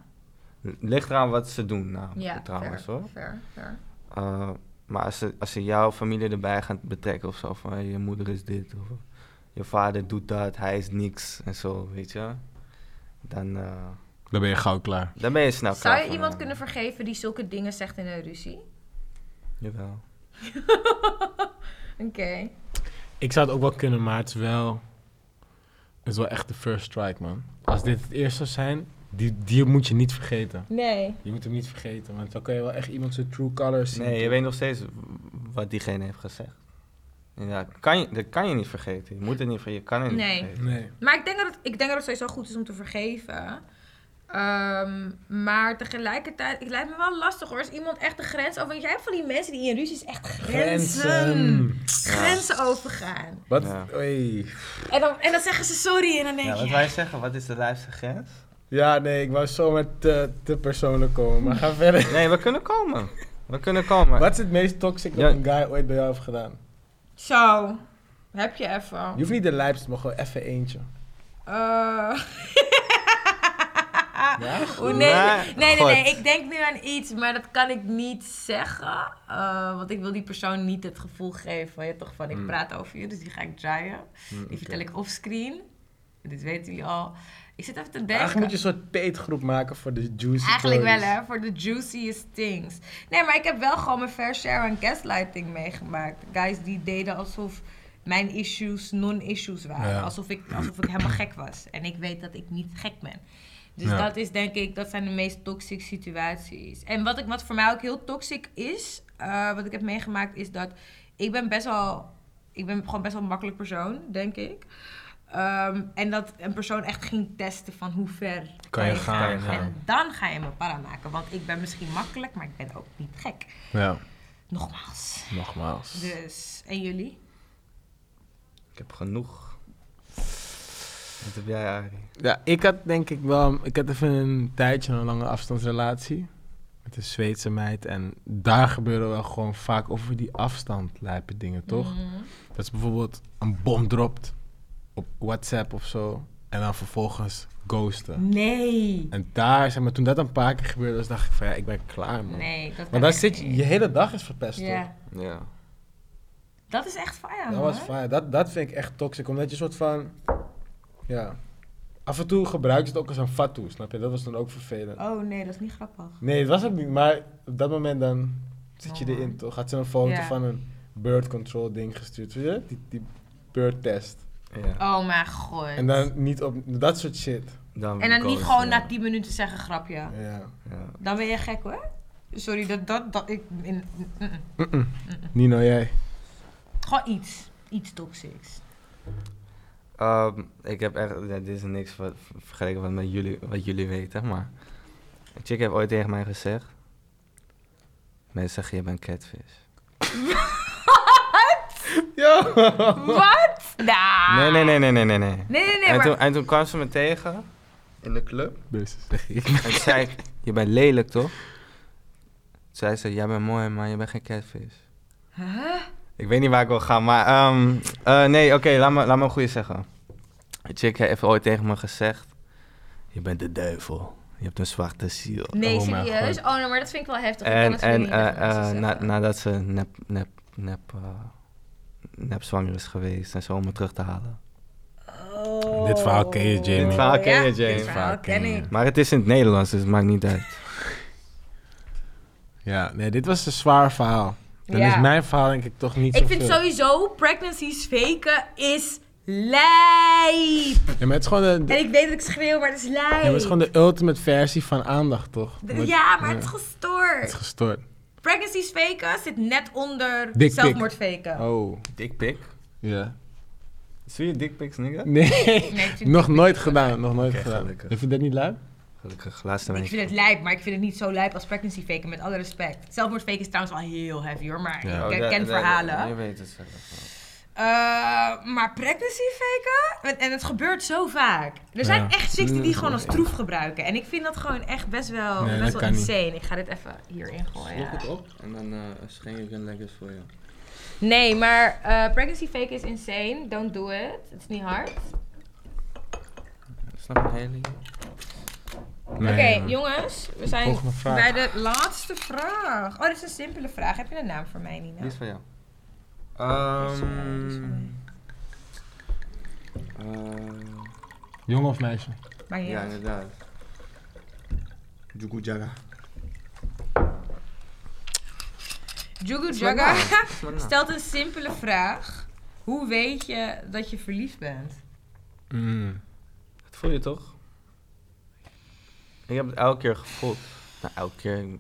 Speaker 3: Ligt eraan wat ze doen, nou,
Speaker 1: Ja,
Speaker 3: trouwens
Speaker 1: fair,
Speaker 3: hoor.
Speaker 1: fair, fair.
Speaker 3: Eh, maar als ze, als ze jouw familie erbij gaan betrekken of zo, van hey, je moeder is dit, of je vader doet dat, hij is niks en zo, weet je. Dan, eh,
Speaker 5: Dan ben je gauw klaar.
Speaker 3: dan ben je snel
Speaker 1: Zou
Speaker 3: klaar
Speaker 1: je
Speaker 3: voor,
Speaker 1: iemand
Speaker 3: eh,
Speaker 1: kunnen vergeven die zulke dingen zegt in een ruzie?
Speaker 3: Jawel.
Speaker 1: Oké.
Speaker 5: Ik zou het ook wel kunnen, maar het is wel... Het is wel echt de first strike, man. Als dit het eerst zou zijn, die, die moet je niet vergeten.
Speaker 1: Nee.
Speaker 8: Je moet hem niet vergeten, want dan kan je wel echt iemand zijn true colors zien.
Speaker 3: Nee, je weet nog steeds w- wat diegene heeft gezegd. Ja, kan je, dat kan je niet vergeten. Je moet het niet vergeten. Je kan het
Speaker 1: Nee.
Speaker 3: niet vergeten.
Speaker 8: Nee.
Speaker 1: Maar ik denk, dat het, ik denk dat het sowieso goed is om te vergeven. Ehm, maar tegelijkertijd, het lijkt me wel lastig hoor. Als iemand echt de grens over... Jij hebt van die mensen die in ruzies echt grenzen,
Speaker 8: Grenzen.
Speaker 1: grenzen overgaan.
Speaker 8: Wat?
Speaker 3: Ja.
Speaker 8: Oei.
Speaker 1: En dan, en dan zeggen ze sorry en dan denk
Speaker 3: Ja, wat
Speaker 1: je...
Speaker 3: wij zeggen, wat is de lijfste grens?
Speaker 8: Ja, nee, ik wou zo met te, te persoonlijk komen, maar ga verder.
Speaker 3: Nee, we kunnen komen. We kunnen komen.
Speaker 8: Wat is het meest toxic dat
Speaker 3: Ja.
Speaker 8: een guy ooit bij jou heeft gedaan?
Speaker 1: Zo, heb je
Speaker 8: Je
Speaker 1: even.
Speaker 8: hoeft niet de lijpste, maar gewoon even eentje.
Speaker 1: Eh,
Speaker 8: Ja?
Speaker 1: Oeh, nee,
Speaker 3: Maar,
Speaker 1: nee, nee, nee,
Speaker 3: God.
Speaker 1: ik denk nu aan iets, maar dat kan ik niet zeggen. eh, want ik wil die persoon niet het gevoel geven. Je hebt toch van, ik
Speaker 3: Hmm.
Speaker 1: praat over je, dus die ga ik draaien.
Speaker 3: Mm, oké.
Speaker 1: Die vertel ik offscreen. Dit weten jullie al. Ik zit even te denken.
Speaker 8: Eigenlijk moet je een soort peetgroep maken voor de juicy
Speaker 1: Eigenlijk wel,
Speaker 8: stories.
Speaker 1: hè, voor de juiciest things. Nee, maar ik heb wel gewoon mijn fair share aan gaslighting meegemaakt. Guys die deden alsof mijn issues non-issues waren.
Speaker 5: Ja.
Speaker 1: Alsof, ik, alsof ik helemaal gek was. En ik weet dat ik niet gek ben. Dus
Speaker 5: Ja.
Speaker 1: dat is denk ik, dat zijn de meest toxic situaties. En wat, ik, wat voor mij ook heel toxic is, eh, wat ik heb meegemaakt, is dat ik ben best wel, ik ben gewoon best wel een makkelijk persoon, denk ik. Ehm, en dat een persoon echt ging testen van hoe ver
Speaker 5: Kan je gaan, ja.
Speaker 1: En dan ga je me para maken. Want ik ben misschien makkelijk, maar ik ben ook niet gek.
Speaker 5: Ja,
Speaker 1: Nogmaals.
Speaker 5: nogmaals.
Speaker 1: Dus, en jullie?
Speaker 3: Ik heb genoeg. Wat heb jij, Arie?
Speaker 5: Ja, ik had denk ik wel... Ik had even een tijdje een lange afstandsrelatie. Met een Zweedse meid. En daar gebeuren wel gewoon vaak over die afstand lijpe dingen, toch?
Speaker 1: Mhm.
Speaker 5: Dat is bijvoorbeeld een bom dropt op WhatsApp of zo. En dan vervolgens ghosten.
Speaker 1: Mhm. Nee.
Speaker 5: En daar, zeg maar, toen dat een paar keer gebeurde, dus dacht ik van ja, ik ben klaar, man.
Speaker 1: Nee, dat kan
Speaker 8: Want dan
Speaker 1: echt
Speaker 8: zit je,
Speaker 1: niet.
Speaker 8: je hele dag is verpest, toch?
Speaker 1: Ja.
Speaker 3: Ja.
Speaker 1: Dat is echt fire,
Speaker 8: Dat
Speaker 1: hoor.
Speaker 8: was fijn. Dat, dat vind ik echt toxic, omdat je soort van... Ja. Af en toe gebruik je het ook als een fatu, snap je? Dat was dan ook vervelend.
Speaker 1: Oh nee, dat is niet grappig.
Speaker 8: Nee, dat was het niet, maar op dat moment dan zit je
Speaker 1: Oh, man.
Speaker 8: erin, toch? Had ze een foto
Speaker 1: Ja.
Speaker 8: van een bird control ding gestuurd, weet je? Die, die bird test.
Speaker 3: ja.
Speaker 1: Oh mijn god.
Speaker 8: En dan niet op dat soort shit.
Speaker 1: En dan niet
Speaker 3: koos,
Speaker 1: gewoon
Speaker 3: ja.
Speaker 1: na 10 minuten zeggen grapje.
Speaker 8: Ja.
Speaker 3: eh, Ja.
Speaker 1: Dan ben je gek hoor. Sorry, dat, dat, dat ik... in- mm, mm.
Speaker 5: Nino, jij?
Speaker 1: Gewoon iets. Iets toxics.
Speaker 3: Ehm, ik heb echt, ja, dit is niks wat, vergeleken wat, met jullie, wat jullie weten, maar een chick heeft ooit tegen mij gezegd, mensen zeggen je bent catfish.
Speaker 1: Wat? Nah.
Speaker 3: Nee, nee, nee, nee, nee, nee. nee.
Speaker 1: Ah. Nee, nee, nee,
Speaker 3: en,
Speaker 1: maar...
Speaker 3: toen, en toen kwam ze me tegen in de club
Speaker 5: Dus zeg ik.
Speaker 3: en zei ik, je bent lelijk toch? Toen zei ze, jij bent mooi, maar je bent geen catfish.
Speaker 1: Huh?
Speaker 3: Ik weet niet waar ik wil gaan, maar... ehm, eh, nee, oké, laat, me, laat me een goede zeggen. Een chick heeft ooit tegen me gezegd... Je bent de duivel. Je hebt een zwarte ziel.
Speaker 1: Nee,
Speaker 5: Oh mijn
Speaker 1: serieus?
Speaker 5: god.
Speaker 1: Oh, nee, maar dat vind ik wel heftig. Ik kan
Speaker 3: en
Speaker 1: het gewoon
Speaker 3: en
Speaker 1: niet
Speaker 3: eh,
Speaker 1: tegen mensen
Speaker 3: eh,
Speaker 1: zeggen. dus
Speaker 3: na- nadat ze nep, nep, nep, eh, nep zwanger is geweest en zo om me terug te halen.
Speaker 1: Oh.
Speaker 5: Dit verhaal ken je, Jamie. Dit
Speaker 3: verhaal ken je,
Speaker 1: Ja,
Speaker 3: Jamie.
Speaker 1: Dit verhaal ken ik.
Speaker 3: Maar het is in het Nederlands, dus het maakt niet uit.
Speaker 5: Ja, nee, dit was een zwaar verhaal. Dan
Speaker 1: Ja.
Speaker 5: is mijn verhaal denk ik toch niet
Speaker 1: Ik
Speaker 5: zoveel.
Speaker 1: vind sowieso pregnancies faken is lijp.
Speaker 5: Ja, maar het is gewoon de, de-
Speaker 1: En ik weet dat ik schreeuw, maar het is lijp.
Speaker 5: ja, maar het is gewoon de ultimate versie van aandacht, toch?
Speaker 1: De-
Speaker 5: Omdat-
Speaker 1: Ja, maar het is
Speaker 5: ja, het is
Speaker 1: gestoord.
Speaker 5: gestoord.
Speaker 1: Pregnancies faken zit net onder
Speaker 5: pic.
Speaker 1: zelfmoord faken.
Speaker 5: Oh,
Speaker 3: Dikpik?
Speaker 5: ja.
Speaker 3: Zie je dikpiks, nigga?
Speaker 5: Nee,
Speaker 1: Nee, ik vind-
Speaker 5: nog nooit gedaan, nog nooit
Speaker 3: Oké,
Speaker 5: gedaan.
Speaker 3: gelukkig.
Speaker 5: Vind je dat niet leuk?
Speaker 3: Gelukkig, laatste
Speaker 1: Ik
Speaker 3: week.
Speaker 1: vind het lijp, maar ik vind het niet zo lijp als pregnancy faken, met
Speaker 3: Oh,
Speaker 1: alle respect. Zelfmoord faken is trouwens wel heel heavy hoor, maar
Speaker 5: Ja.
Speaker 1: ik ken verhalen.
Speaker 3: Je weet het zelf wel.
Speaker 1: Eh, maar pregnancy faken? En- En het gebeurt zo vaak. Er zijn
Speaker 2: Ja.
Speaker 1: echt chicks die die
Speaker 2: Nee,
Speaker 1: gewoon als
Speaker 2: nee.
Speaker 1: troef gebruiken. En ik vind dat gewoon echt best wel,
Speaker 2: Nee,
Speaker 1: best
Speaker 2: dat
Speaker 1: wel
Speaker 2: kan niet.
Speaker 1: insane. Ik ga dit even hierin gooien.
Speaker 3: Slok het op en dan eh schenk ik een lekkers voor jou.
Speaker 1: Nee, maar eh, pregnancy fake is insane. Don't do it. Het is niet hard.
Speaker 3: Snap je hele
Speaker 2: Nee,
Speaker 1: Oké,
Speaker 2: man.
Speaker 1: jongens. We zijn
Speaker 2: Volgende vraag.
Speaker 1: bij de laatste vraag. Oh, dit is een simpele vraag. Heb je een naam voor mij, Nina?
Speaker 3: Die is van jou.
Speaker 1: is van mij, die is van mij.
Speaker 3: Ehm,
Speaker 2: Jongen of meisje?
Speaker 1: Maar
Speaker 3: eh,
Speaker 1: ja.
Speaker 3: ja, inderdaad. Jugu Jaga.
Speaker 1: Jugu
Speaker 3: is mijn
Speaker 1: Jaga
Speaker 3: naam. Dat is mijn naam.
Speaker 1: stelt een simpele vraag. Hoe weet je dat je verliefd bent?
Speaker 2: Mm.
Speaker 3: Dat voel je toch? Ik heb het elke keer gevoeld. Nou, elke keer. Het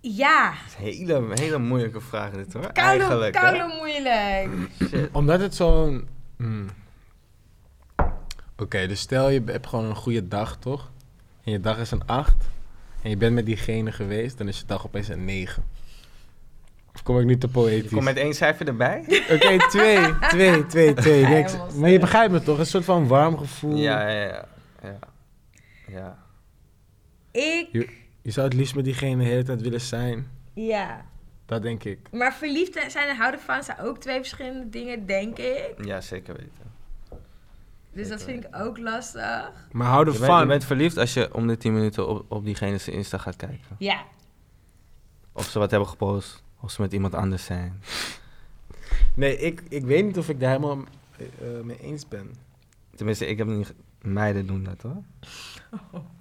Speaker 1: Ja,
Speaker 3: is hele, hele moeilijke vraag dit hoor.
Speaker 1: koude,
Speaker 3: Eigenlijk, hè?
Speaker 1: koude moeilijk.
Speaker 3: Shit.
Speaker 2: Omdat het zo'n... mm. Oké, dus stel je hebt gewoon een goede dag, toch? En je dag is een 8. En je bent met diegene geweest, dan is je dag opeens een 9. Of kom ik nu te
Speaker 3: Je
Speaker 2: poëtisch?
Speaker 3: komt met één cijfer erbij?
Speaker 2: Oké, 2, 2, 2, 2.
Speaker 1: Hij
Speaker 2: niks.
Speaker 1: was
Speaker 2: Maar je begrijpt me toch? Een soort van warm gevoel.
Speaker 3: Ja, ja, ja. Ja. ja.
Speaker 1: Ik,
Speaker 2: Je zou het liefst met diegene de hele tijd willen zijn.
Speaker 1: ja.
Speaker 2: Dat denk ik.
Speaker 1: Maar verliefd zijn en houden van zijn ook twee verschillende dingen, denk ik.
Speaker 3: Ja, zeker weten.
Speaker 1: Dus dat vind ik ook lastig.
Speaker 2: Maar houden
Speaker 3: Je bent, je
Speaker 2: van.
Speaker 3: bent verliefd als je om de 10 minuten op, op diegene zijn Insta gaat kijken.
Speaker 1: Ja.
Speaker 3: Of ze wat hebben gepost. Of ze met iemand anders zijn.
Speaker 2: Nee, ik, ik weet niet of ik daar helemaal eh, eh, mee eens ben.
Speaker 3: Tenminste, ik heb niet... ge- Meiden doen dat hoor.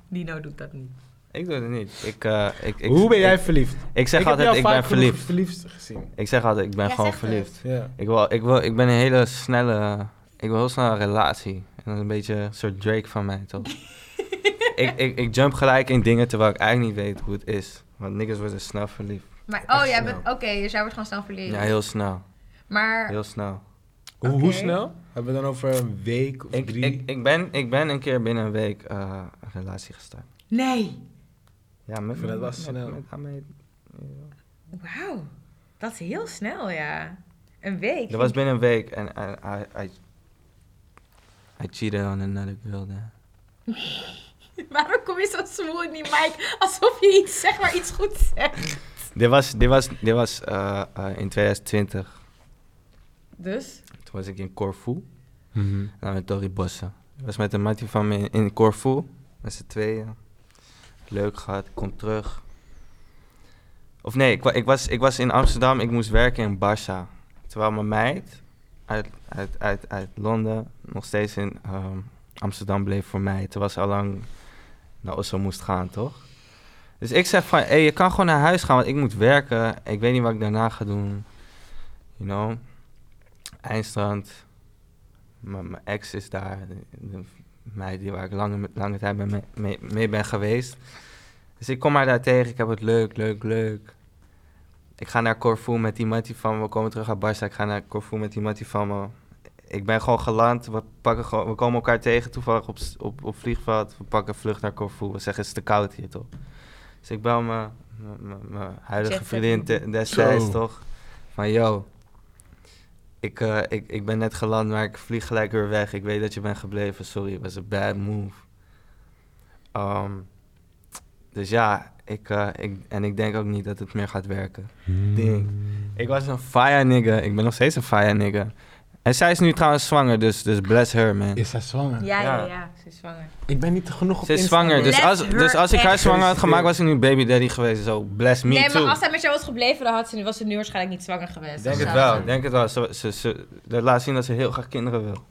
Speaker 1: Dino doet dat niet.
Speaker 3: Ik doe het niet. Ik, eh, ik, ik,
Speaker 2: Hoe ben jij
Speaker 3: Ik,
Speaker 2: verliefd?
Speaker 3: ik zeg
Speaker 2: ik heb
Speaker 3: altijd,
Speaker 2: jou
Speaker 3: ik
Speaker 2: vaak
Speaker 3: ben
Speaker 2: genoeg
Speaker 3: verliefd.
Speaker 2: verliefd gezien.
Speaker 3: Ik zeg altijd, ik ben
Speaker 1: Jij
Speaker 3: gewoon
Speaker 1: zegt het.
Speaker 3: verliefd.
Speaker 2: Ja.
Speaker 3: Ik, wil, ik, wil, ik ben een hele snelle... Ik wil heel snel een relatie. En dat is een beetje een soort Drake van mij, toch? ik, ik, ik jump gelijk in dingen terwijl ik eigenlijk niet weet hoe het is. Want niggas worden snel verliefd.
Speaker 1: Maar,
Speaker 2: Echt
Speaker 1: oh, jij
Speaker 2: snel.
Speaker 1: bent, oké, dus jij wordt gewoon snel verliefd.
Speaker 3: Ja, heel snel.
Speaker 1: maar,
Speaker 3: Heel snel.
Speaker 2: Hoe, hoe
Speaker 1: Oké.
Speaker 2: snel? Hebben we dan over een week of
Speaker 3: Ik,
Speaker 2: drie?
Speaker 3: ik, ik, ben, ik ben een keer binnen een week eh, een relatie gestart.
Speaker 1: nee.
Speaker 3: Ja, met,
Speaker 2: vind dat wel snel.
Speaker 3: Met, met, met-
Speaker 1: Wauw. Dat is heel snel, ja. Een week.
Speaker 3: dat was binnen een week en en I, I, I cheated on another girl there.
Speaker 1: Waarom kom je zo smoel in die mic? Alsof je iets, zeg maar, iets goed zegt.
Speaker 3: Dit was, dit was, dit was eh, eh, in 2020.
Speaker 1: Dus?
Speaker 3: Toen was ik in Corfu
Speaker 9: Mm-hmm.
Speaker 3: en Nou, met Tori Bossen. Ik was met een mattie van me in, in Corfu, met z'n tweeën. Leuk gehad, ik kom terug. Of nee, ik, wa- ik, was, ik was in Amsterdam, ik moest werken in Barça. Terwijl mijn meid uit, uit, uit, uit Londen nog steeds in ehm, Amsterdam bleef voor mij. Terwijl ze al lang naar Oslo moest gaan, toch? Dus ik zeg van, hé, je kan gewoon naar huis gaan, want ik moet werken. Ik weet niet wat ik daarna ga doen. You know? Eindstrand. Mijn mijn ex is daar. De, de meid die waar ik lange, lange tijd mee, mee, mee ben geweest. Dus ik kom haar daar tegen. Ik heb het leuk, leuk, leuk. Ik ga naar Corfu met die mattie van me. We komen terug uit Barça. Ik ga naar Corfu met die mattie van me. Ik ben gewoon geland. We, pakken gewoon, we komen elkaar tegen toevallig op, s- op, op vliegveld. We pakken een vlucht naar Corfu. We zeggen, het is te koud hier, toch? Dus ik bel mijn- mijn- mijn mijn huidige
Speaker 1: Jetset.
Speaker 3: vriendin te- destijds,
Speaker 2: Zo.
Speaker 3: toch? Van, yo, ik, eh, ik, ik ben net geland, maar ik vlieg gelijk weer weg. Ik weet dat je bent gebleven. Sorry, het was een bad move. Ehm, dus ja, ik, eh, ik, en ik denk ook niet dat het meer gaat werken. Ding. Ik was een fire nigga. Ik ben nog steeds een fire nigga. En zij is nu trouwens zwanger, dus, dus bless her, man.
Speaker 2: Is zij zwanger?
Speaker 1: Ja, ja,
Speaker 3: Ja.
Speaker 1: ja, Ze is zwanger.
Speaker 2: Ik ben niet genoeg op
Speaker 3: Ze is
Speaker 2: Insta.
Speaker 3: zwanger, dus
Speaker 1: Bless
Speaker 3: als,
Speaker 1: her
Speaker 3: dus als ik haar
Speaker 1: echt.
Speaker 3: zwanger had gemaakt, was ik nu baby daddy geweest. Zo, bless me
Speaker 1: nee,
Speaker 3: too.
Speaker 1: maar als hij met jou was gebleven, dan had ze, was ze nu waarschijnlijk niet zwanger geweest.
Speaker 3: Denk
Speaker 1: Of
Speaker 3: het
Speaker 1: zou
Speaker 3: wel,
Speaker 1: ze-
Speaker 3: denk het wel. Ze, ze, ze, dat laat zien dat ze heel graag kinderen wil.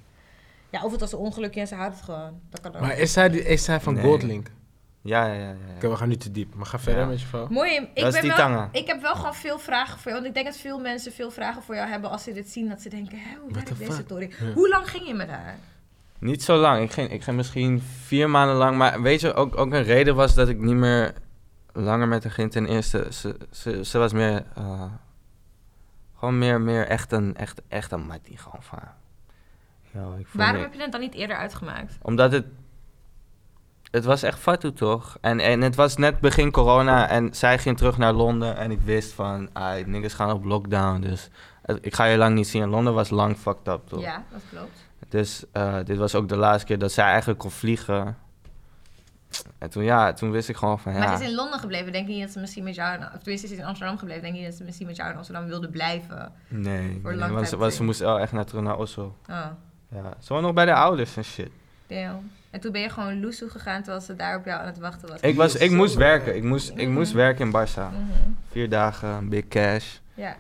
Speaker 1: Ja, of het was een ongelukje en ze houdt het gewoon. Dat
Speaker 3: dus-
Speaker 1: kan ook.
Speaker 2: Maar is zij, die- is zij van
Speaker 3: Nee.
Speaker 2: Goldlink? Oké,
Speaker 3: Ja, ja, ja. ja, ja.
Speaker 2: we gaan nu te diep. Maar ga verder
Speaker 3: Ja.
Speaker 2: met je vrouw.
Speaker 1: Mooi, ik,
Speaker 3: Dat is
Speaker 1: ben
Speaker 3: die
Speaker 1: wel,
Speaker 3: tangen.
Speaker 1: ik heb wel gewoon veel vragen voor jou. Want ik denk dat veel mensen veel vragen voor jou hebben als ze dit zien. Dat ze denken, hè, hoe
Speaker 2: the
Speaker 1: werkt deze
Speaker 2: fuck?
Speaker 1: Tori?
Speaker 2: Ja.
Speaker 1: Hoe lang ging je met haar?
Speaker 3: Niet zo lang. Ik ging, ik ging misschien vier maanden lang. Maar weet je, ook, ook een reden was dat ik niet meer langer met haar ging. Ten eerste, ze, ze, ze was meer... eh, gewoon meer, meer echt een, echt, echt een mattie. Gewoon van... Yo, ik voel
Speaker 1: Waarom
Speaker 3: me-
Speaker 1: heb je het dan niet eerder uitgemaakt?
Speaker 3: Omdat het... het was echt fatu toch? En, en het was net begin corona en zij ging terug naar Londen. En ik wist van, ah, niggas gaan op lockdown. Dus eh, ik ga je lang niet zien. En Londen was lang fucked up toch?
Speaker 1: Ja, dat klopt.
Speaker 3: Dus eh, dit was ook de laatste keer dat zij eigenlijk kon vliegen. En toen, ja, toen wist ik gewoon van, ja.
Speaker 1: Maar ze is in Londen gebleven. Denk je niet dat ze misschien met jou... Of tenminste, ze is in Amsterdam gebleven. Denk je niet dat ze misschien met jou in Amsterdam wilde blijven?
Speaker 3: Nee,
Speaker 1: Voor
Speaker 3: nee,
Speaker 1: lang
Speaker 3: want,
Speaker 1: tijd
Speaker 3: ze, want ze
Speaker 1: terug.
Speaker 3: moest wel echt naar terug naar Oslo.
Speaker 1: Oh,
Speaker 3: Ja. Ze was nog bij de ouders en shit.
Speaker 1: damn. En toen ben je gewoon loesoe gegaan terwijl ze daar op jou aan het wachten was.
Speaker 3: Ik, was, ik
Speaker 5: Zo,
Speaker 3: moest
Speaker 5: eh.
Speaker 3: werken. Ik moest, ik moest
Speaker 1: Mhm.
Speaker 3: werken in Barça.
Speaker 1: Mhm.
Speaker 3: Vier dagen, big cash.
Speaker 1: Ja.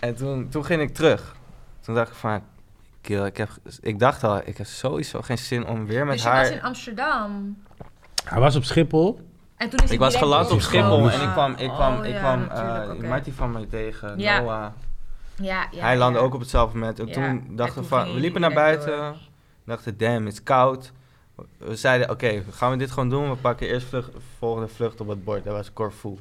Speaker 3: En toen, toen ging ik terug. Toen dacht ik van, kill, ik, heb, ik dacht al, ik heb sowieso geen zin om weer met
Speaker 1: dus je
Speaker 3: haar...
Speaker 1: was in Amsterdam.
Speaker 9: Hij was op Schiphol.
Speaker 1: En toen is hij
Speaker 3: Ik was
Speaker 1: direct
Speaker 3: geland op
Speaker 1: doorgekomen.
Speaker 3: Schiphol en ik kwam, ik
Speaker 1: Oh,
Speaker 3: kwam, ik
Speaker 1: ja,
Speaker 3: kwam
Speaker 1: natuurlijk,
Speaker 3: eh,
Speaker 1: oké.
Speaker 3: Marty van mij tegen,
Speaker 1: Ja.
Speaker 3: Noah.
Speaker 1: Ja, ja,
Speaker 3: hij landde
Speaker 1: ja.
Speaker 3: ook op hetzelfde moment. En
Speaker 1: Ja,
Speaker 3: toen
Speaker 1: en
Speaker 3: dachten
Speaker 1: toen
Speaker 3: we van,
Speaker 1: ging
Speaker 3: we
Speaker 1: je
Speaker 3: liepen naar
Speaker 1: direct
Speaker 3: buiten. Dachten, damn, het is koud. We zeiden, oké, gaan we dit gewoon doen? We pakken eerst vlucht, volgende vlucht op het bord. Dat was Corfu. Hebben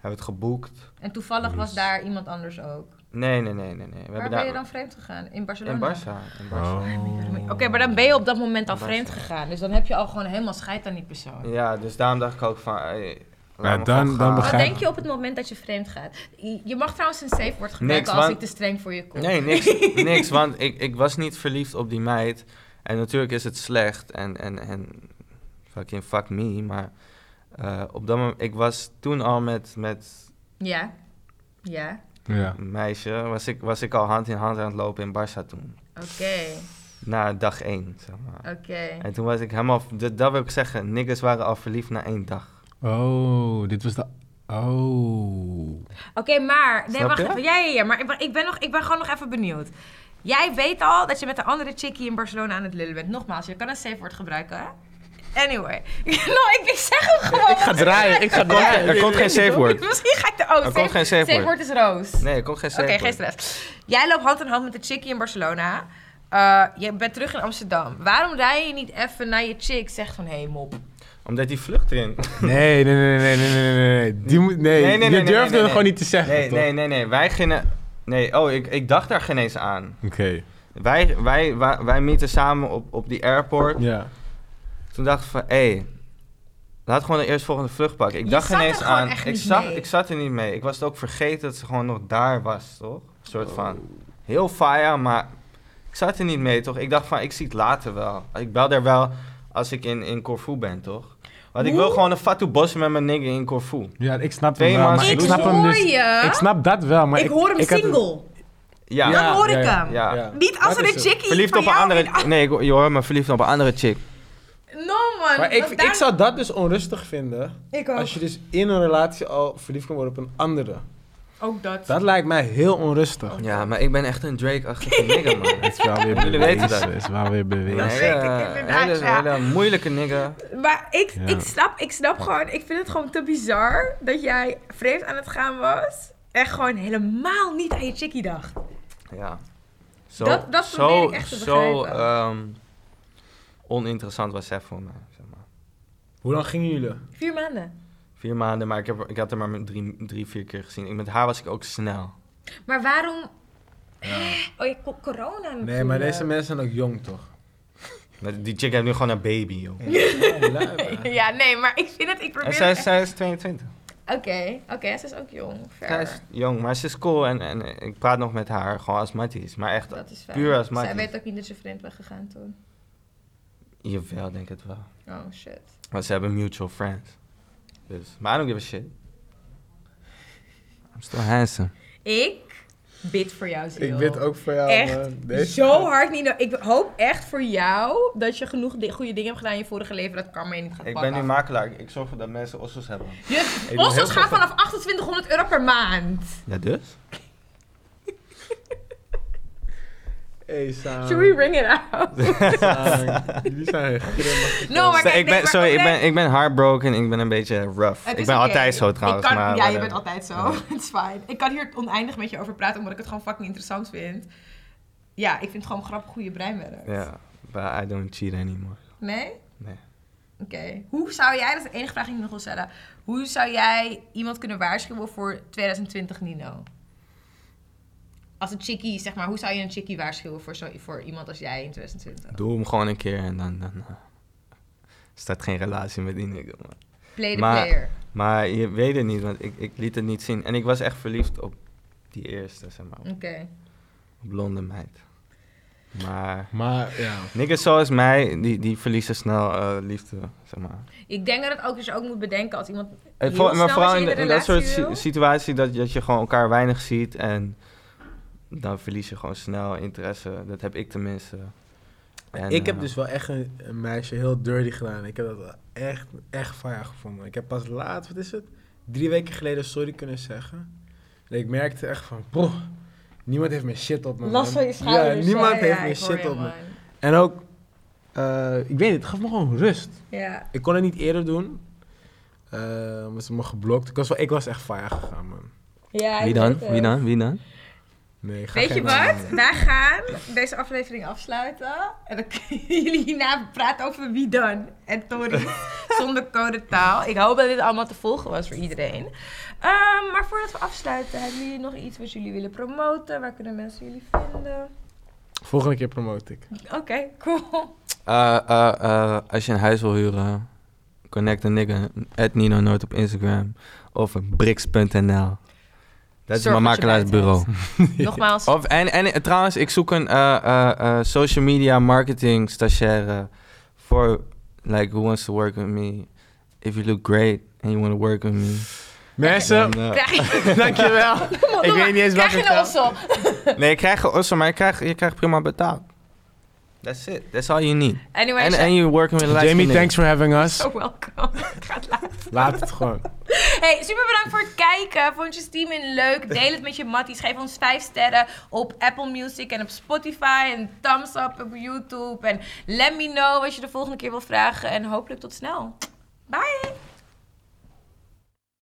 Speaker 3: we het geboekt?
Speaker 1: En toevallig was daar iemand anders ook.
Speaker 3: Nee, nee, nee, nee. nee. We
Speaker 1: Waar
Speaker 3: hebben
Speaker 1: ben
Speaker 3: daar
Speaker 1: je dan vreemd gegaan? In Barcelona?
Speaker 3: in Barça. In Barça.
Speaker 9: Oh.
Speaker 1: Oh. Oké, maar dan ben je op dat moment al
Speaker 3: In Barça.
Speaker 1: vreemd gegaan. Dus dan heb je al gewoon helemaal scheid aan die persoon.
Speaker 3: Ja, dus daarom dacht ik ook van, hey, laat
Speaker 9: Ja, dan-
Speaker 3: me gewoon
Speaker 9: dan
Speaker 3: gaan.
Speaker 1: Wat
Speaker 9: begrijp-
Speaker 1: denk je op het moment dat je vreemd gaat? Je mag trouwens een safe word gebruiken
Speaker 3: Niks,
Speaker 1: als
Speaker 3: want-
Speaker 1: ik te streng voor je kom.
Speaker 3: Nee, niks, niks want ik, ik was niet verliefd op die meid. En natuurlijk is het slecht en, en, en fucking fuck me, maar eh, op dat moment, ik was toen al met, met
Speaker 1: Ja. Ja.
Speaker 9: Ja.
Speaker 3: een meisje, was ik, was ik al hand in hand aan het lopen in Barça toen.
Speaker 1: Oké.
Speaker 3: Na dag één, zeg maar.
Speaker 1: Oké.
Speaker 3: En toen was ik helemaal, dat, dat wil ik zeggen, niggas waren al verliefd na één dag.
Speaker 9: Oh, dit was de... Oh.
Speaker 1: Oké, maar. Nee,
Speaker 3: Snap
Speaker 1: wacht
Speaker 3: je?
Speaker 1: even. Ja, ja, ja. Maar ik, ben- ik ben nog, ik ben gewoon nog even benieuwd. Jij weet al dat je met de andere chickie in Barcelona aan het lullen bent. Nogmaals, je kan een safe word gebruiken. hè? Anyway. no, ik, ik zeg hem gewoon. Ik
Speaker 3: draaien, ik ga draaien. Er komt geen safe word.
Speaker 1: Misschien ga ik de. Oh,
Speaker 3: Er komt geen safe word.
Speaker 1: is roos.
Speaker 3: Nee, er komt geen safe
Speaker 1: Oké,
Speaker 3: word.
Speaker 1: geen stress. Jij loopt hand in hand met de chickie in Barcelona. Eh, je bent terug in Amsterdam. Waarom rij je niet even naar je chick? Zeg van, hé hey, mop.
Speaker 3: Omdat die vlucht erin.
Speaker 9: Nee, nee, nee, nee, nee, nee, nee, nee. Die moet... Nee,
Speaker 3: Nee, nee, nee,
Speaker 9: je
Speaker 3: nee,
Speaker 9: durfde
Speaker 3: nee, nee,
Speaker 9: het
Speaker 3: nee.
Speaker 9: gewoon niet te zeggen,
Speaker 3: Nee,
Speaker 9: toch?
Speaker 3: nee, nee, nee. Wij gingen. Nee, oh, ik, ik dacht daar geen eens aan.
Speaker 9: Oké.
Speaker 3: Wij, wij, wij, wij meeten samen op, op die airport.
Speaker 9: Ja.
Speaker 3: Toen dacht ik van, hé, laat gewoon de eerstvolgende vlucht pakken. Ik
Speaker 1: Je
Speaker 3: dacht
Speaker 1: zat
Speaker 3: geen
Speaker 1: er
Speaker 3: eens
Speaker 1: gewoon
Speaker 3: aan.
Speaker 1: echt
Speaker 3: Ik,
Speaker 1: niet
Speaker 3: zag,
Speaker 1: mee.
Speaker 3: ik zat er niet mee. Ik was het ook vergeten dat ze gewoon nog daar was, toch? Een soort van. Heel faya, maar ik zat er niet mee, toch? Ik dacht van, ik zie het later wel. Ik bel daar wel als ik in, in Corfu ben, toch? Want ik wil gewoon een fatu bos met mijn nigger in Corfu.
Speaker 9: Ja, ik snap
Speaker 3: Twee
Speaker 9: hem wel, maar
Speaker 3: maanden
Speaker 9: ik
Speaker 1: Ik
Speaker 9: snap hem
Speaker 1: hoor
Speaker 9: dus...
Speaker 1: je.
Speaker 9: Ik snap dat wel, maar
Speaker 1: ik,
Speaker 9: ik...
Speaker 1: hoor hem
Speaker 9: had het-
Speaker 1: single.
Speaker 3: Ja.
Speaker 1: Dan hoor ik hem.
Speaker 3: Ja.
Speaker 1: Niet als
Speaker 9: Dat
Speaker 5: dus
Speaker 1: er een
Speaker 9: is het.
Speaker 1: chickie
Speaker 3: Verliefd
Speaker 1: van
Speaker 3: op een
Speaker 1: jou
Speaker 3: andere... Nee, ik- je hoort me verliefd op een andere chick.
Speaker 1: No man.
Speaker 5: Maar ik,
Speaker 1: want
Speaker 5: ik
Speaker 1: daar-
Speaker 5: zou dat dus onrustig vinden.
Speaker 1: Ik ook.
Speaker 5: Als je dus in een relatie al verliefd kan worden op een andere.
Speaker 1: Ook dat.
Speaker 5: Dat lijkt mij heel onrustig.
Speaker 3: Ja, maar ik ben echt een Drake-achtige nigger, man.
Speaker 9: Het is wel weer
Speaker 3: Jullie weten dat.
Speaker 9: bewezen. Het is wel weer
Speaker 3: Een
Speaker 9: bewezen.
Speaker 1: zeker,
Speaker 3: hele,
Speaker 1: inderdaad,
Speaker 3: hele,
Speaker 1: ja.
Speaker 3: hele moeilijke nigger.
Speaker 1: Maar ik,
Speaker 9: Ja.
Speaker 1: ik, snap, ik snap gewoon, ik vind het gewoon te bizar dat jij vreemd aan het gaan was. En gewoon helemaal niet aan je chickie dacht.
Speaker 3: Ja. Zo,
Speaker 1: Dat- dat
Speaker 3: zo,
Speaker 1: probeer ik echt te
Speaker 3: zo
Speaker 1: begrijpen.
Speaker 3: ehm, oninteressant was zij voor mij, zeg maar.
Speaker 5: Hoe lang gingen jullie?
Speaker 1: Vier maanden.
Speaker 3: Vier maanden, maar ik, heb, ik had haar maar met drie, drie, vier keer gezien. Ik, met haar was ik ook snel.
Speaker 1: Maar waarom... Oh, je ko- corona natuurlijk.
Speaker 5: Nee, maar deze mensen zijn ook jong, toch?
Speaker 3: Met- Die chick heeft nu gewoon een baby, joh.
Speaker 1: Ja, nee, maar ik vind het, ik probeer...
Speaker 3: En zij,
Speaker 1: het
Speaker 3: is- zij is 22.
Speaker 1: echt- Oké, oké, ze is ook jong.
Speaker 3: Zij
Speaker 1: Fair.
Speaker 3: is jong, maar ze is cool en, en ik praat nog met haar gewoon als matties. Maar echt,
Speaker 1: Dat is fair.
Speaker 3: puur als
Speaker 1: Zij
Speaker 3: matties.
Speaker 1: weet ook niet dat je vreemd bent gegaan toen.
Speaker 3: Jawel, denk het wel.
Speaker 1: Oh, shit.
Speaker 3: Want ze hebben mutual friends. Dus, maar I don't give a shit. I'm still handsome.
Speaker 1: Ik bid voor jou, ziel.
Speaker 5: Ik bid ook voor jou,
Speaker 1: Echt
Speaker 5: man. Deze-
Speaker 1: zo hard, Nino. Ik hoop echt voor jou dat je genoeg di- goede dingen hebt gedaan in je vorige leven. Dat karma je niet gaat
Speaker 3: Ik ben
Speaker 1: pakken.
Speaker 3: nu makelaar. Ik zorg ervoor dat mensen ossos hebben.
Speaker 1: Je
Speaker 3: doe heel
Speaker 1: ossos
Speaker 3: veel
Speaker 1: gaan
Speaker 3: van-
Speaker 1: vanaf 2800 euro per maand.
Speaker 3: Ja, dus?
Speaker 5: Hey, Saam.
Speaker 1: Should we ring it out?
Speaker 5: Saam. Jullie zijn echt grimmig.
Speaker 1: No, Oh, maar kijk,
Speaker 3: ik ben,
Speaker 1: nee,
Speaker 3: sorry, ik
Speaker 1: maar-
Speaker 3: ben, ik ben heartbroken. Ik ben een beetje rough.
Speaker 1: Het
Speaker 3: Ik
Speaker 1: is
Speaker 3: ben
Speaker 1: oké.
Speaker 3: altijd zo
Speaker 1: Ik
Speaker 3: trouwens.
Speaker 1: kan-
Speaker 3: maar
Speaker 1: ja, je
Speaker 3: whatever.
Speaker 1: bent altijd zo.
Speaker 3: Ja.
Speaker 1: Het is fijn. Ik kan hier oneindig met je over praten, omdat ik het gewoon fucking interessant vind. Ja, ik vind het gewoon grappig hoe je brein werkt.
Speaker 3: Ja, but I don't cheat anymore.
Speaker 1: Nee?
Speaker 3: Nee.
Speaker 1: Oké. Hoe zou jij, dat is de enige vraag die ik nog wil stellen. Hoe zou jij iemand kunnen waarschuwen voor 2020 Nino? Als een chickie, zeg maar. Hoe zou je een chickie waarschuwen voor, zo, voor iemand als jij in 2020?
Speaker 3: Doe hem gewoon een keer en dan... dan eh, staat geen relatie met die nigger, man.
Speaker 1: Play the
Speaker 3: Maar-
Speaker 1: player.
Speaker 3: Maar je weet het niet, want ik, ik liet het niet zien. En ik was echt verliefd op die eerste, zeg maar. Op
Speaker 1: Oké.
Speaker 3: een blonde meid. Maar
Speaker 5: Maar ja,
Speaker 3: niggers zoals mij, die, die verliezen snel eh, liefde, zeg maar.
Speaker 1: Ik denk dat het ook dus ook moet bedenken als iemand...
Speaker 3: Eh,
Speaker 1: Heel
Speaker 3: voor-
Speaker 1: snel
Speaker 3: maar vooral
Speaker 1: als
Speaker 3: in,
Speaker 1: je in
Speaker 3: de-
Speaker 1: een
Speaker 3: in dat soort
Speaker 1: relatie
Speaker 3: si-
Speaker 1: wil.
Speaker 3: situatie dat, dat je gewoon elkaar weinig ziet en dan verlies je gewoon snel interesse. Dat heb ik tenminste. En,
Speaker 5: ik heb
Speaker 3: eh,
Speaker 5: dus wel echt een, een meisje heel dirty gedaan. Ik heb dat wel echt, echt fire gevonden. Ik heb pas laat, wat is het? Drie weken geleden sorry kunnen zeggen. En ik merkte echt van, bro, niemand heeft mijn shit op me.
Speaker 1: Last
Speaker 5: man.
Speaker 1: van je schouders.
Speaker 5: Ja,
Speaker 1: hè?
Speaker 5: niemand heeft
Speaker 1: Ja,
Speaker 5: mijn
Speaker 1: ik hoor
Speaker 5: shit
Speaker 1: je,
Speaker 5: op me.
Speaker 1: man.
Speaker 5: En ook, eh, ik weet het, het gaf me gewoon rust.
Speaker 1: Ja.
Speaker 5: Ik kon het niet eerder doen. eh, omdat ze me geblokt. Ik was, wel, ik was echt fire gegaan, man.
Speaker 1: ja ik eh,
Speaker 3: Wie dan?
Speaker 1: weet het.
Speaker 3: Wie dan? Wie dan?
Speaker 5: Nee, ik ga
Speaker 1: Weet
Speaker 5: geen
Speaker 1: je
Speaker 5: namen
Speaker 1: wat?
Speaker 5: noemen.
Speaker 1: Wij gaan deze aflevering afsluiten. En dan kunnen jullie hierna praten over wie dan. En Tori. Zonder codetaal. Ik hoop dat dit allemaal te volgen was voor iedereen. Ehm, maar voordat we afsluiten, hebben jullie nog iets wat jullie willen promoten? Waar kunnen mensen jullie vinden?
Speaker 5: Volgende keer promote ik.
Speaker 1: Oké, cool.
Speaker 3: Eh, eh, eh, als je een huis wil huren, connect een nigger. At Nino Noord op Instagram of brix.nl. Dat is
Speaker 1: Zorg
Speaker 3: mijn
Speaker 1: dat je
Speaker 3: makelaarsbureau.
Speaker 1: Nogmaals.
Speaker 5: Oh.
Speaker 3: Of, en, en eh, trouwens, ik zoek een eh, eh, eh, social media marketing stagiaire voor like who wants to work with me. If you look great and you want to work with me.
Speaker 5: Mensen,
Speaker 3: Dan, eh,
Speaker 1: Krijg je,
Speaker 5: dankjewel. ik weet niet eens
Speaker 1: krijg
Speaker 5: welke
Speaker 1: je een
Speaker 5: taal.
Speaker 1: ossel?
Speaker 3: eh, nee, ik krijg also, maar ik krijg, je krijgt prima betaald. That's it. That's all you need.
Speaker 1: Anyway,
Speaker 3: And, and you're working with a light
Speaker 5: Jamie,
Speaker 3: skin
Speaker 5: thanks for having us.
Speaker 1: so welcome. Ik ga het laten.
Speaker 5: Laat het gewoon.
Speaker 1: Hey, super bedankt voor het kijken. Vond je Steam in leuk? Deel het met je matties. Geef ons 5 sterren op Apple Music en op Spotify. En thumbs up op YouTube. En let me know wat je de volgende keer wil vragen. En hopelijk tot snel. Bye!